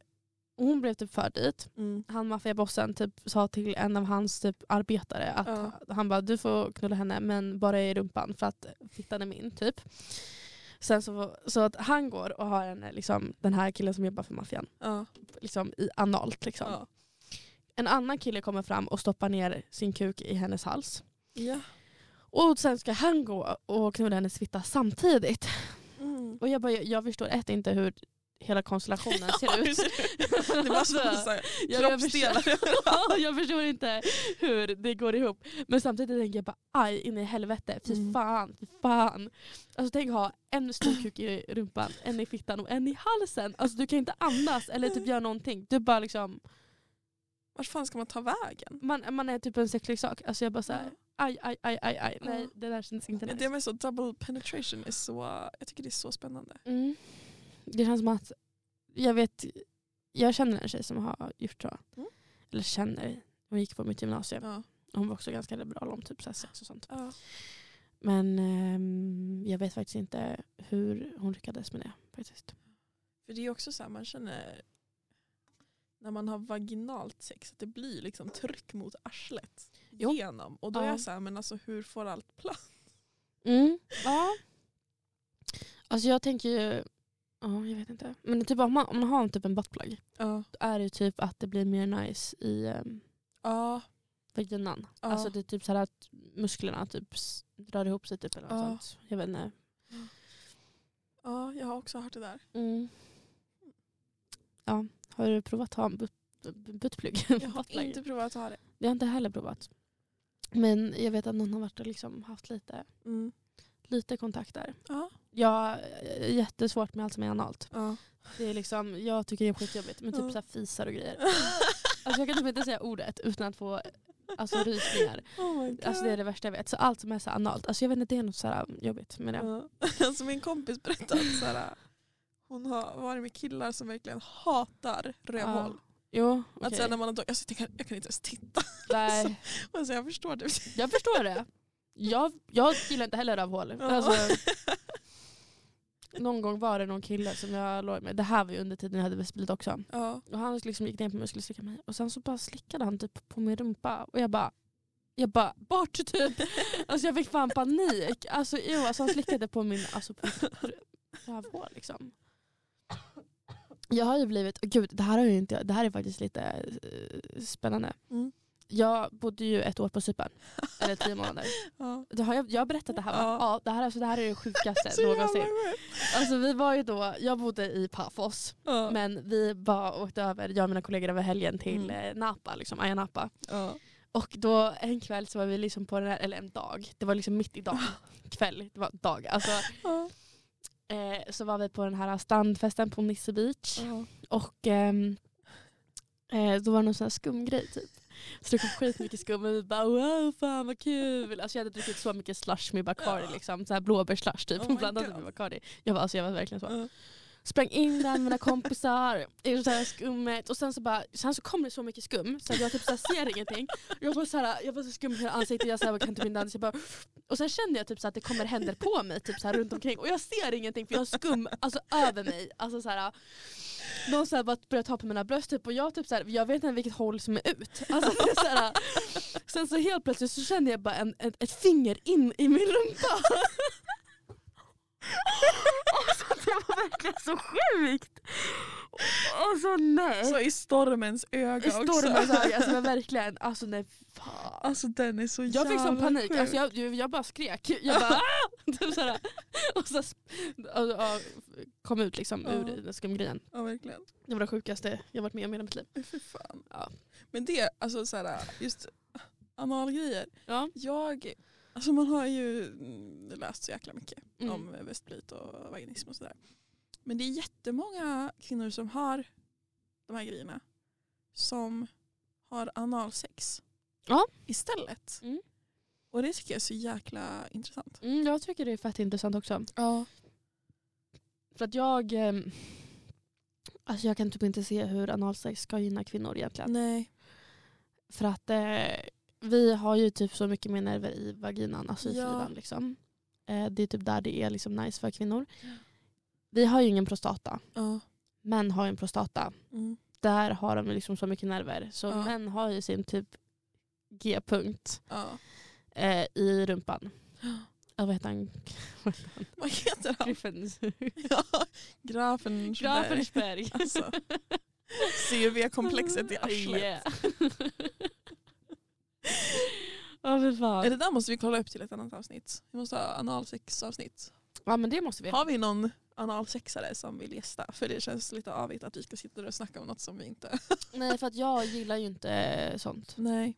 Speaker 1: hon blev typ förd dit.
Speaker 2: Mm.
Speaker 1: han maffiabossen typ sa till en av hans typ arbetare att
Speaker 2: Ja.
Speaker 1: han, han bara du får knulla henne men bara i rumpan för att fittan är min typ. Sen så, så att han går och har henne, liksom, den här killen som jobbar för maffian
Speaker 2: Ja.
Speaker 1: liksom, i analt. Liksom.
Speaker 2: Ja.
Speaker 1: En annan kille kommer fram och stoppar ner sin kuk i hennes hals.
Speaker 2: Ja.
Speaker 1: Och sen ska han gå och knulla hennes fitta samtidigt.
Speaker 2: Mm.
Speaker 1: Och jag, bara, jag, jag förstår ett inte hur hela konstellationen ser ut. Alltså.
Speaker 2: det var så här,
Speaker 1: Ja, jag
Speaker 2: kroppsdelar.
Speaker 1: Ja, jag förstår inte hur det går ihop. Men samtidigt tänker jag bara aj in i helvete. Fy
Speaker 2: Mm.
Speaker 1: fan, fy fan. Alltså tänk ha en stor kuk i rumpan, en i fittan och en i halsen. Alltså du kan inte andas eller typ göra någonting. Du bara liksom,
Speaker 2: Vart fan ska man ta vägen?
Speaker 1: man, man är typ en sexleksak. Alltså jag bara såhär, aj, aj, aj, aj, aj. Nej
Speaker 2: Ja.
Speaker 1: det där känns inte
Speaker 2: Det
Speaker 1: nice.
Speaker 2: med så double penetration är så, jag tycker det är så spännande.
Speaker 1: Mm. Det känns som att, jag vet, jag känner en tjej som har gjort så.
Speaker 2: Mm.
Speaker 1: Eller känner, hon gick på mitt gymnasium.
Speaker 2: Ja.
Speaker 1: Hon var också ganska liberal om typ så här sex och sånt.
Speaker 2: Ja.
Speaker 1: Men ehm, jag vet faktiskt inte hur hon lyckades med det. Faktiskt.
Speaker 2: För det är också så här, man känner när man har vaginalt sex att det blir liksom tryck mot arslet
Speaker 1: Jo.
Speaker 2: genom. Och då är
Speaker 1: Ja.
Speaker 2: jag så här, men alltså hur får allt plats?
Speaker 1: Mm. Ja. Alltså jag tänker ju, ja jag vet inte. Men typ om man, om man har en typ en buttplug
Speaker 2: Ja.
Speaker 1: då är det ju typ att det blir mer nice i um,
Speaker 2: Ja.
Speaker 1: vaginan.
Speaker 2: Ja.
Speaker 1: Alltså det är typ så här att musklerna typ s- drar ihop sig typ eller något
Speaker 2: Ja.
Speaker 1: sånt. Jag vet inte.
Speaker 2: ja, jag har också hört det där.
Speaker 1: Mm. Ja, har du provat att ha en butt- buttplug?
Speaker 2: Jag har
Speaker 1: Buttplug?
Speaker 2: inte provat att ha det.
Speaker 1: Det har jag inte heller provat. Men jag vet att någon har varit och liksom haft lite,
Speaker 2: Mm.
Speaker 1: lite kontakt där.
Speaker 2: Ja.
Speaker 1: Jag har eh, jättesvårt med allt som är analt.
Speaker 2: Ja.
Speaker 1: Det är liksom, jag tycker det är skitjobbigt men typ
Speaker 2: Ja.
Speaker 1: så här fisar och grejer. Alltså jag kan typ inte säga ordet utan att få alltså, rysningar.
Speaker 2: oh my God.
Speaker 1: Alltså det är det värsta jag vet. Så allt som är så här analt, alltså jag vet inte det är något så här jobbigt med det.
Speaker 2: Ja. Alltså min kompis berättade att så här, hon har varit med killar som verkligen hatar rövhål.
Speaker 1: Ja. Jo,
Speaker 2: Att
Speaker 1: okej.
Speaker 2: sen när man har dåligt, alltså, jag, kan, jag kan inte ens titta.
Speaker 1: Nej,
Speaker 2: Alltså, jag förstår det.
Speaker 1: jag förstår det. Jag, jag gillar inte heller rövhål.
Speaker 2: Ja.
Speaker 1: Alltså, någon gång var det någon kille som jag låg med, det här var ju under tiden jag hade vestibulit också.
Speaker 2: Ja.
Speaker 1: Och han liksom gick ner på mig och skulle slicka mig. Och sen så bara slickade han typ på min rumpa. Och jag bara, jag bara bort typ. Alltså jag fick fan panik. Alltså, jo, alltså han slickade på min alltså, på mitt rövhål liksom. Jag har ju blivit, gud det här, har ju inte, det här är faktiskt lite eh, spännande.
Speaker 2: Mm.
Speaker 1: Jag bodde ju ett år på Cypern. Eller tio månader.
Speaker 2: Ja.
Speaker 1: Det har jag, jag har berättat det här va?
Speaker 2: Ja.
Speaker 1: Ja. det, här, alltså, det här är det sjukaste
Speaker 2: Så jävla
Speaker 1: någonsin.
Speaker 2: sjukt.
Speaker 1: Alltså, vi var ju då, jag bodde i Paphos.
Speaker 2: Ja.
Speaker 1: Men vi bara åkte över, jag och mina kollegor över helgen till
Speaker 2: Mm.
Speaker 1: eh, Napa, liksom, Ayia Napa.
Speaker 2: Ja.
Speaker 1: Och då en kväll så var vi liksom på den här, eller en dag, det var liksom mitt i dagen. Kväll, det var dag. Alltså,
Speaker 2: Ja.
Speaker 1: eh, så var vi på den här strandfesten på Nisse Beach.
Speaker 2: Ja.
Speaker 1: Och ehm, eh, då var det någon sån här skumgrej typ. Så det kom skitmycket skum och vi bara wow fan vad kul. Alltså jag hade druckit så mycket slush med Bacardi
Speaker 2: Ja.
Speaker 1: liksom. Så här blåbärsslush typ.
Speaker 2: Oh my
Speaker 1: blandat
Speaker 2: God.
Speaker 1: med Bacardi. Jag var, alltså, jag var verkligen så.
Speaker 2: Ja.
Speaker 1: Sprang in där med mina kompisar i det där skummet. Och sen så, bara, sen så kom det så mycket skum så att jag typ så här ser ingenting. Jag var så, här, jag var så skum i hela ansiktet. Jag så här, kan typ inte andas. Jag bara, och sen kände jag typ så att det kommer händer på mig typ så här runt omkring och jag ser ingenting för jag har skum alltså, över mig. Alltså, så här, någon så här bara börjar ta på mina bröst typ, och jag, typ, så här, jag vet inte vilket håll som är ut. Alltså, det är så här, sen så helt plötsligt så kände jag bara en, ett, ett finger in i min rumpa. Alltså, det var verkligen så sjukt! Alltså nej!
Speaker 2: Så i stormens öga
Speaker 1: I stormens
Speaker 2: också.
Speaker 1: öga, alltså men verkligen, alltså nej fan.
Speaker 2: Alltså den är så
Speaker 1: Jag fick sån
Speaker 2: jävla
Speaker 1: panik,
Speaker 2: sjuk.
Speaker 1: alltså jag, jag, jag bara skrek. Jag bara "Ah!" typ såhär. Och så sp- och, och, kom ut liksom ur
Speaker 2: Ja.
Speaker 1: den där skumgrejen.
Speaker 2: Ja verkligen.
Speaker 1: Det var det sjukaste jag varit med om i hela mitt liv.
Speaker 2: Fy fan.
Speaker 1: Ja.
Speaker 2: Men det, alltså såhär, just analgrejer.
Speaker 1: Ja. Mm.
Speaker 2: Jag, alltså man har ju mm, läst så jäkla mycket
Speaker 1: Mm.
Speaker 2: om västblit och vaginism och sådär. Men det är jättemånga kvinnor som har de här grejerna som har analsex
Speaker 1: Ja.
Speaker 2: istället.
Speaker 1: Mm.
Speaker 2: Och det tycker jag är så jäkla intressant.
Speaker 1: Mm, jag tycker det är fett intressant också.
Speaker 2: Ja.
Speaker 1: För att jag, ehm, alltså jag kan typ inte se hur analsex ska gynna kvinnor egentligen.
Speaker 2: Nej.
Speaker 1: För att eh, vi har ju typ så mycket mer nerver i vaginan, alltså i
Speaker 2: Ja.
Speaker 1: slidan. Liksom. Eh, det är typ där det är liksom nice för kvinnor. Vi har ju ingen prostata.
Speaker 2: Ja.
Speaker 1: Män har ju en prostata.
Speaker 2: Mm.
Speaker 1: Där har de ju liksom så mycket nerver. Så
Speaker 2: Ja.
Speaker 1: män har ju sin typ G-punkt
Speaker 2: ja.
Speaker 1: eh, i rumpan. Ja, vad heter han?
Speaker 2: Vad heter han?
Speaker 1: Griffens.
Speaker 2: Ja. Grafenberg.
Speaker 1: Grafensberg.
Speaker 2: Alltså. CV-komplexet i arslet.
Speaker 1: Yeah. Ja, fy
Speaker 2: Ja,
Speaker 1: fan.
Speaker 2: Det där måste vi kolla upp till ett annat avsnitt. Vi måste ha analsexavsnitt.
Speaker 1: Ja, men det måste vi.
Speaker 2: Har vi någon analsexare som vill gästa? För det känns lite avigt att vi ska sitta där och snacka om något som vi inte...
Speaker 1: Nej, för att jag gillar ju inte eh, sånt.
Speaker 2: Nej.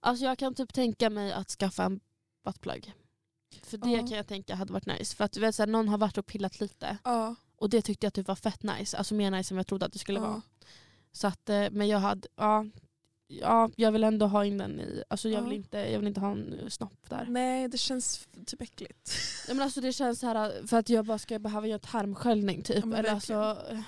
Speaker 1: Alltså jag kan typ tänka mig att skaffa en buttplug. För det
Speaker 2: Ja.
Speaker 1: kan jag tänka hade varit nice. För att du vet, så här, någon har varit och pillat lite
Speaker 2: Ja.
Speaker 1: och det tyckte jag typ var fett nice. Alltså mer nice än vad jag trodde att det skulle
Speaker 2: ja.
Speaker 1: vara. Så att, eh, men jag hade, ja, ja, jag vill ändå ha in den i, alltså jag,
Speaker 2: Ja.
Speaker 1: vill inte, jag vill inte ha en eh, snopp där.
Speaker 2: Nej, det känns f- typ äckligt.
Speaker 1: Ja, men alltså det känns så här, för att jag bara ska behöva göra tarmsköljning typ.
Speaker 2: Ja, men
Speaker 1: Eller
Speaker 2: verkligen.
Speaker 1: alltså, eh,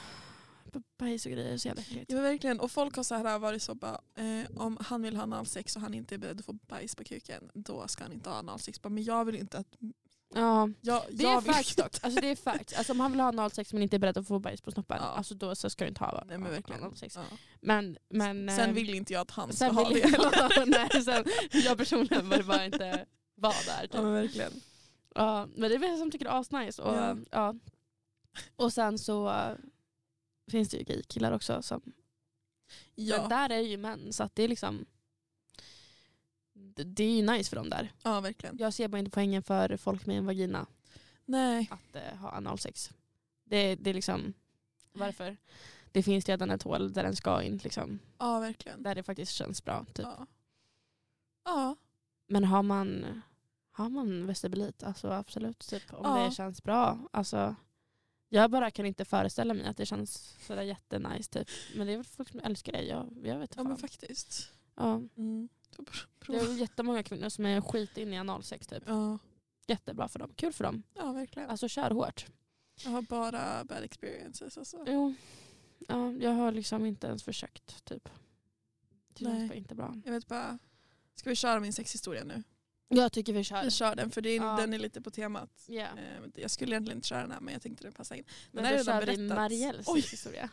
Speaker 1: bajs och grejer är så jävla äckligt.
Speaker 2: Ja, men verkligen. Och folk har så här varit så bara, eh, om han vill ha analsex och han inte är beredd att få bajs på kuken, då ska han inte ha analsex. Bara, Men jag vill inte att...
Speaker 1: Ja.
Speaker 2: Jag,
Speaker 1: Det
Speaker 2: jag
Speaker 1: är
Speaker 2: vill
Speaker 1: facts
Speaker 2: inte.
Speaker 1: dock. Alltså det är facts. Alltså om han vill ha analsex men inte är beredd att få bajs på snoppen,
Speaker 2: Ja.
Speaker 1: alltså då så ska du inte ha
Speaker 2: Nej men verkligen.
Speaker 1: analsex.
Speaker 2: Ja.
Speaker 1: Men, men, eh,
Speaker 2: Sen vill inte jag att han ska
Speaker 1: sen
Speaker 2: ha
Speaker 1: vill
Speaker 2: det.
Speaker 1: jag, nej, sen, jag personligen vill bara inte vara där. Typ.
Speaker 2: Ja, men verkligen.
Speaker 1: Ja, men det är vissa som tycker det är asnice. Och,
Speaker 2: Ja.
Speaker 1: ja. och sen så eh, finns det ju gay-killar också. Som, Men
Speaker 2: Ja,
Speaker 1: där är det ju män så att det är liksom det, det är ju nice för dem där.
Speaker 2: ja verkligen.
Speaker 1: Jag ser bara inte poängen för folk med en vagina
Speaker 2: Nej.
Speaker 1: att eh, ha analsex. Det, det är liksom, varför? Det finns redan ett hål där den ska in, liksom.
Speaker 2: Ja, verkligen.
Speaker 1: där det faktiskt känns bra. Typ.
Speaker 2: Ja. ja.
Speaker 1: Men har man, har man vestibulit, alltså absolut. Typ, om
Speaker 2: Ja.
Speaker 1: det känns bra. Alltså, jag bara kan inte föreställa mig att det känns sådär jättenice. Typ. Men det är väl folk som älskar det. Jag, jag vet
Speaker 2: Ja
Speaker 1: inte.
Speaker 2: men
Speaker 1: fan.
Speaker 2: faktiskt.
Speaker 1: Ja,
Speaker 2: Mm. Då pr-
Speaker 1: det är
Speaker 2: prova.
Speaker 1: väl jättemånga kvinnor som är skit inne i analsex. Typ.
Speaker 2: Ja.
Speaker 1: Jättebra för dem. Kul för dem.
Speaker 2: ja verkligen.
Speaker 1: Alltså kör hårt.
Speaker 2: Jag har bara bad experiences alltså.
Speaker 1: Jo. Ja, jag har liksom inte ens försökt. Typ. Det
Speaker 2: Nej.
Speaker 1: känns bara inte bra.
Speaker 2: Jag vet bara, ska vi köra min sexhistoria nu?
Speaker 1: Jag tycker vi kör.
Speaker 2: Vi kör den för det är,
Speaker 1: Ja.
Speaker 2: den är lite på temat.
Speaker 1: Ja.
Speaker 2: Eh, Jag skulle egentligen inte köra den här men jag tänkte den passade in.
Speaker 1: Men
Speaker 2: Den här
Speaker 1: då
Speaker 2: är redan
Speaker 1: kör vi
Speaker 2: berättat.
Speaker 1: Marielles
Speaker 2: Oj.
Speaker 1: historia.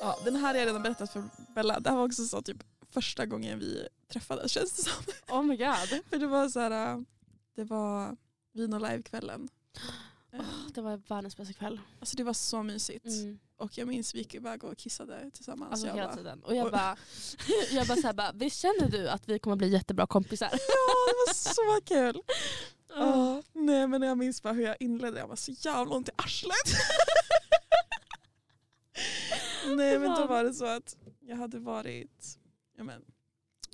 Speaker 2: Ja, den här har jag redan berättat för Bella. Det här var också så typ första gången vi träffades känns det som.
Speaker 1: Oh my god.
Speaker 2: äh, För det var så här, eh, det var vin och livekvällen. Eh,
Speaker 1: Det var världens bästa kväll.
Speaker 2: Alltså det var så mysigt.
Speaker 1: Mm.
Speaker 2: Och jag minns vi gick iväg och kissade tillsammans.
Speaker 1: Alltså
Speaker 2: jag
Speaker 1: hela
Speaker 2: bara,
Speaker 1: tiden. Och jag bara, jag bara, så här, bara, visst känner du att vi kommer bli jättebra kompisar?
Speaker 2: ja det var så kul. Ja, nej men jag minns bara hur jag inledde. Jag var så jävla ont i arslet. nej men då var det så att jag hade varit, ja men,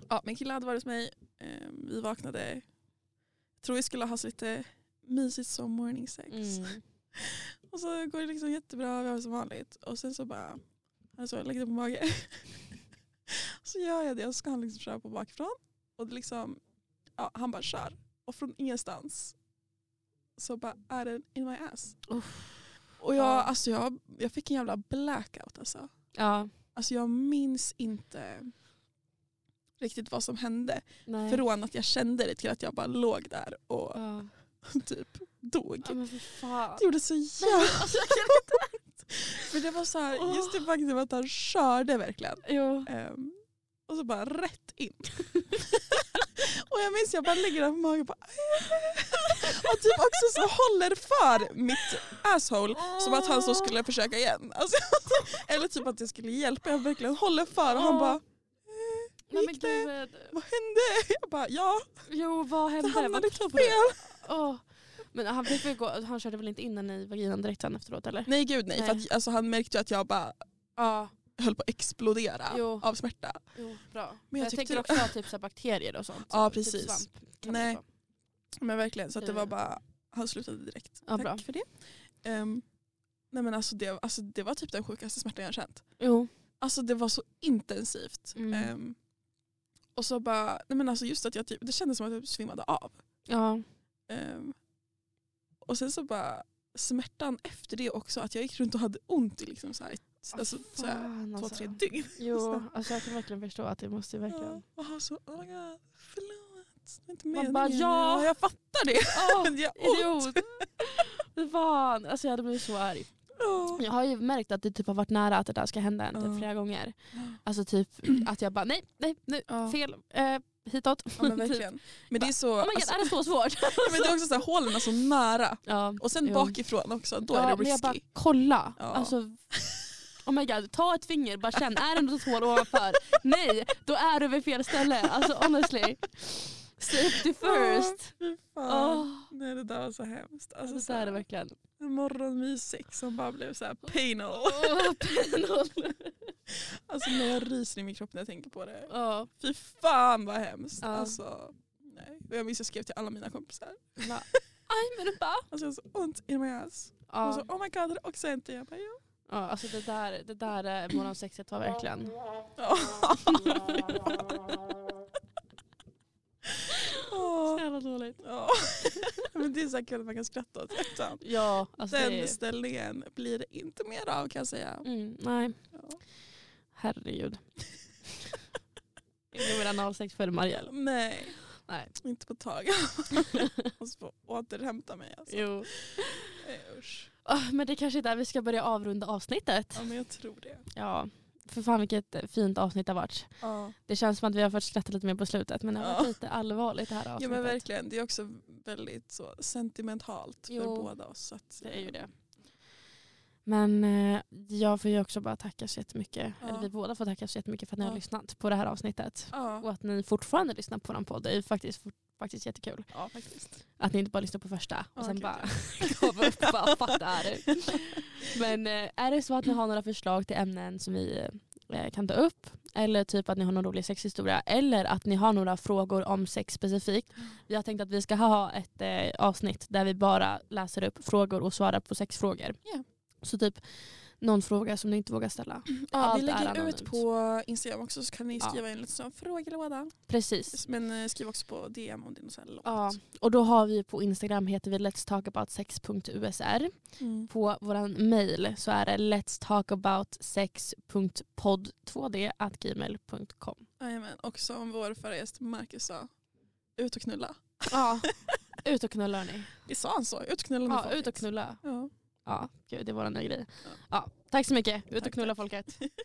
Speaker 2: ja min kille hade varit hos mig. Eh, vi vaknade, jag tror vi skulle ha så lite mysigt som morning sex.
Speaker 1: Mm.
Speaker 2: Och så går det liksom jättebra, vi har det som vanligt. Och sen så bara, han så, jag lägger det på magen. så gör jag det och så ska han liksom köra på bakifrån. Och det liksom, ja, han bara kör. Och från ingenstans så bara är den in my ass.
Speaker 1: Uff.
Speaker 2: Och jag,
Speaker 1: Ja.
Speaker 2: alltså jag, jag fick en jävla blackout alltså.
Speaker 1: Ja,
Speaker 2: Alltså jag minns inte riktigt vad som hände.
Speaker 1: nej.
Speaker 2: Från att jag kände det till att jag bara låg där och
Speaker 1: Ja.
Speaker 2: typ dog.
Speaker 1: Ja, men för fan.
Speaker 2: Det gjorde så jävla ont. Men det var så här, just det faktum att han körde verkligen.
Speaker 1: Jo.
Speaker 2: Ehm, och så bara rätt in. och jag minns jag bara ligger där på magen och bara Och typ också så håller för mitt asshole. Som att han så skulle försöka igen. Alltså, eller typ att jag skulle hjälpa. Jag verkligen håller för och han bara "Eh,
Speaker 1: Nej, men
Speaker 2: gick det?
Speaker 1: gud.
Speaker 2: Vad hände? Jag bara ja,
Speaker 1: Jo, vad
Speaker 2: det
Speaker 1: hände?
Speaker 2: hamnade
Speaker 1: Vad
Speaker 2: lite
Speaker 1: på det?
Speaker 2: fel.
Speaker 1: Åh. Men han, fick väl gå, han körde väl inte in den i vaginan direkt sen efteråt eller?
Speaker 2: Nej gud nej. För
Speaker 1: Nej.
Speaker 2: att, alltså, han märkte ju att jag bara
Speaker 1: Ja,
Speaker 2: höll på att explodera
Speaker 1: Jo.
Speaker 2: av smärta.
Speaker 1: jo, bra.
Speaker 2: Men
Speaker 1: Men
Speaker 2: jag
Speaker 1: jag,
Speaker 2: tyckte-
Speaker 1: tänker också ha typ så här bakterier och sånt.
Speaker 2: Ja,
Speaker 1: Typ
Speaker 2: precis.
Speaker 1: svamp kan
Speaker 2: Nej.
Speaker 1: det vara.
Speaker 2: Men verkligen, så att det var
Speaker 1: Eh.
Speaker 2: bara, han slutade direkt.
Speaker 1: Ja,
Speaker 2: Tack
Speaker 1: bra.
Speaker 2: för det. Ehm, nej men alltså det, alltså det var typ den sjukaste smärtan jag känt.
Speaker 1: Jo.
Speaker 2: Alltså det var så intensivt.
Speaker 1: Mm.
Speaker 2: Ehm, och så bara, nej men alltså just att jag typ, det kändes som att jag typ svimmade av.
Speaker 1: Ja.
Speaker 2: Ehm, och sen så bara smärtan efter det också, att jag gick runt och hade ont i liksom så här, alltså, så här
Speaker 1: Ah, Fan,
Speaker 2: två,
Speaker 1: alltså.
Speaker 2: tre dygn.
Speaker 1: Jo, alltså jag kan verkligen förstå att det måste ju verkligen...
Speaker 2: Ja, och han så, oh my god, förlåt. Det var inte
Speaker 1: Man
Speaker 2: meningen.
Speaker 1: bara, ja.
Speaker 2: jag fattar det.
Speaker 1: Åh,
Speaker 2: Men jag har ont.
Speaker 1: idiot! Fy Fan, alltså jag hade blivit så arg.
Speaker 2: Ja.
Speaker 1: Jag har ju märkt att det typ har varit nära att det där ska hända en
Speaker 2: Ja.
Speaker 1: typ flera gånger. Alltså typ att jag bara nej, nej, nu,
Speaker 2: Ja.
Speaker 1: fel, eh, hitåt.
Speaker 2: Ja men
Speaker 1: Typ.
Speaker 2: verkligen. Men det är så,
Speaker 1: Oh my god,
Speaker 2: alltså,
Speaker 1: är det så svårt?
Speaker 2: men det är också så här, hålen är så nära.
Speaker 1: ja.
Speaker 2: Och sen
Speaker 1: Jo.
Speaker 2: bakifrån också, då är
Speaker 1: ja,
Speaker 2: det
Speaker 1: men
Speaker 2: risky.
Speaker 1: jag bara kolla.
Speaker 2: Ja.
Speaker 1: Alltså, oh my god, ta ett finger, bara känn, är det något hål ovanför? nej, då är du vid fel ställe. Alltså honestly. Safety first.
Speaker 2: Fy fan.
Speaker 1: Åh,
Speaker 2: Nej det där var så hemskt. Alltså,
Speaker 1: alltså, så är det verkligen.
Speaker 2: en morgonmysex som bara blev så här painal.
Speaker 1: Åh, penhål.
Speaker 2: Alltså när jag ryser i min kropp när jag tänker på det.
Speaker 1: Ja.
Speaker 2: Fy fan vad hemskt.
Speaker 1: Ja.
Speaker 2: Alltså, nej. Och jag minns jag skrev till alla mina kompisar.
Speaker 1: Va? Aj men det bara.
Speaker 2: Alltså jag har så ont i my ass.
Speaker 1: Ja.
Speaker 2: Och så oh my god har det också hänt dig? Jag bara ja.
Speaker 1: ja, alltså det där, det där eh, morgonsexet var verkligen.
Speaker 2: Ja. Fy fan.
Speaker 1: Så
Speaker 2: Åh.
Speaker 1: jävla dåligt.
Speaker 2: Ja. Men det är så här kul att man kan skratta åt hjärtan.
Speaker 1: Ja, alltså
Speaker 2: Den
Speaker 1: det är...
Speaker 2: ställningen blir det inte mer av kan jag säga.
Speaker 1: Mm, nej,
Speaker 2: Ja.
Speaker 1: herregud. Inte med analsex för Marielle.
Speaker 2: Nej,
Speaker 1: Nej.
Speaker 2: inte på ett tag. jag måste få återhämta mig. Alltså.
Speaker 1: Jo.
Speaker 2: Nej, usch.
Speaker 1: Ah, men det kanske är där vi ska börja avrunda avsnittet.
Speaker 2: Ja, men jag tror det.
Speaker 1: Ja, för fan vilket eh, fint avsnitt det har varit.
Speaker 2: Ja.
Speaker 1: Det känns som att vi har fått skratta lite mer på slutet men det har
Speaker 2: Ja.
Speaker 1: varit lite allvarligt det här avsnittet.
Speaker 2: ja men verkligen, det är också väldigt så sentimentalt för
Speaker 1: Jo.
Speaker 2: båda oss. Så att,
Speaker 1: Det är ju det. Men eh, jag får ju också bara tacka så jättemycket,
Speaker 2: Ja.
Speaker 1: eller vi båda får tacka så jättemycket för att ni
Speaker 2: Ja.
Speaker 1: har lyssnat på det här avsnittet. Och
Speaker 2: Ja,
Speaker 1: att ni fortfarande lyssnar på vår podd. Det är ju faktiskt, fort- faktiskt jättekul.
Speaker 2: ja faktiskt.
Speaker 1: Att ni inte bara lyssnar på första och
Speaker 2: Ja,
Speaker 1: sen
Speaker 2: gud,
Speaker 1: bara gav upp och bara fuck det här. Men eh, är det så att ni har några förslag till ämnen som vi eh, kan ta upp eller typ att ni har någon rolig sexhistoria eller att ni har några frågor om sex specifikt. Vi har tänkt att vi ska ha ett eh, avsnitt där vi bara läser upp frågor och svarar på sexfrågor.
Speaker 2: Ja. Mm.
Speaker 1: Så typ någon fråga som ni inte vågar ställa.
Speaker 2: Ja,
Speaker 1: Allt
Speaker 2: vi
Speaker 1: är
Speaker 2: lägger
Speaker 1: anonymt.
Speaker 2: ut på Instagram också så kan ni
Speaker 1: Ja.
Speaker 2: skriva in lite sån frågelåda.
Speaker 1: Precis.
Speaker 2: Men eh, skriv också på DM om det är något så här långt.
Speaker 1: Ja, och då har vi på Instagram heter vi letstalkaboutsex.usr.
Speaker 2: Mm.
Speaker 1: På vår mail så är det letstalkaboutsex.podd2d.gmail.com.
Speaker 2: Jajamän. Och som vår förra gäst Marcus sa, ut och knulla.
Speaker 1: Ja, ut och knulla hörni.
Speaker 2: Det sa han så? Ut och knulla med
Speaker 1: Ja,
Speaker 2: folket.
Speaker 1: ut och knulla.
Speaker 2: Ja.
Speaker 1: Ja, gud, det är vår nya grej.
Speaker 2: Ja.
Speaker 1: Ja, tack så mycket. Ut
Speaker 2: Tack,
Speaker 1: och knulla
Speaker 2: tack.
Speaker 1: folket.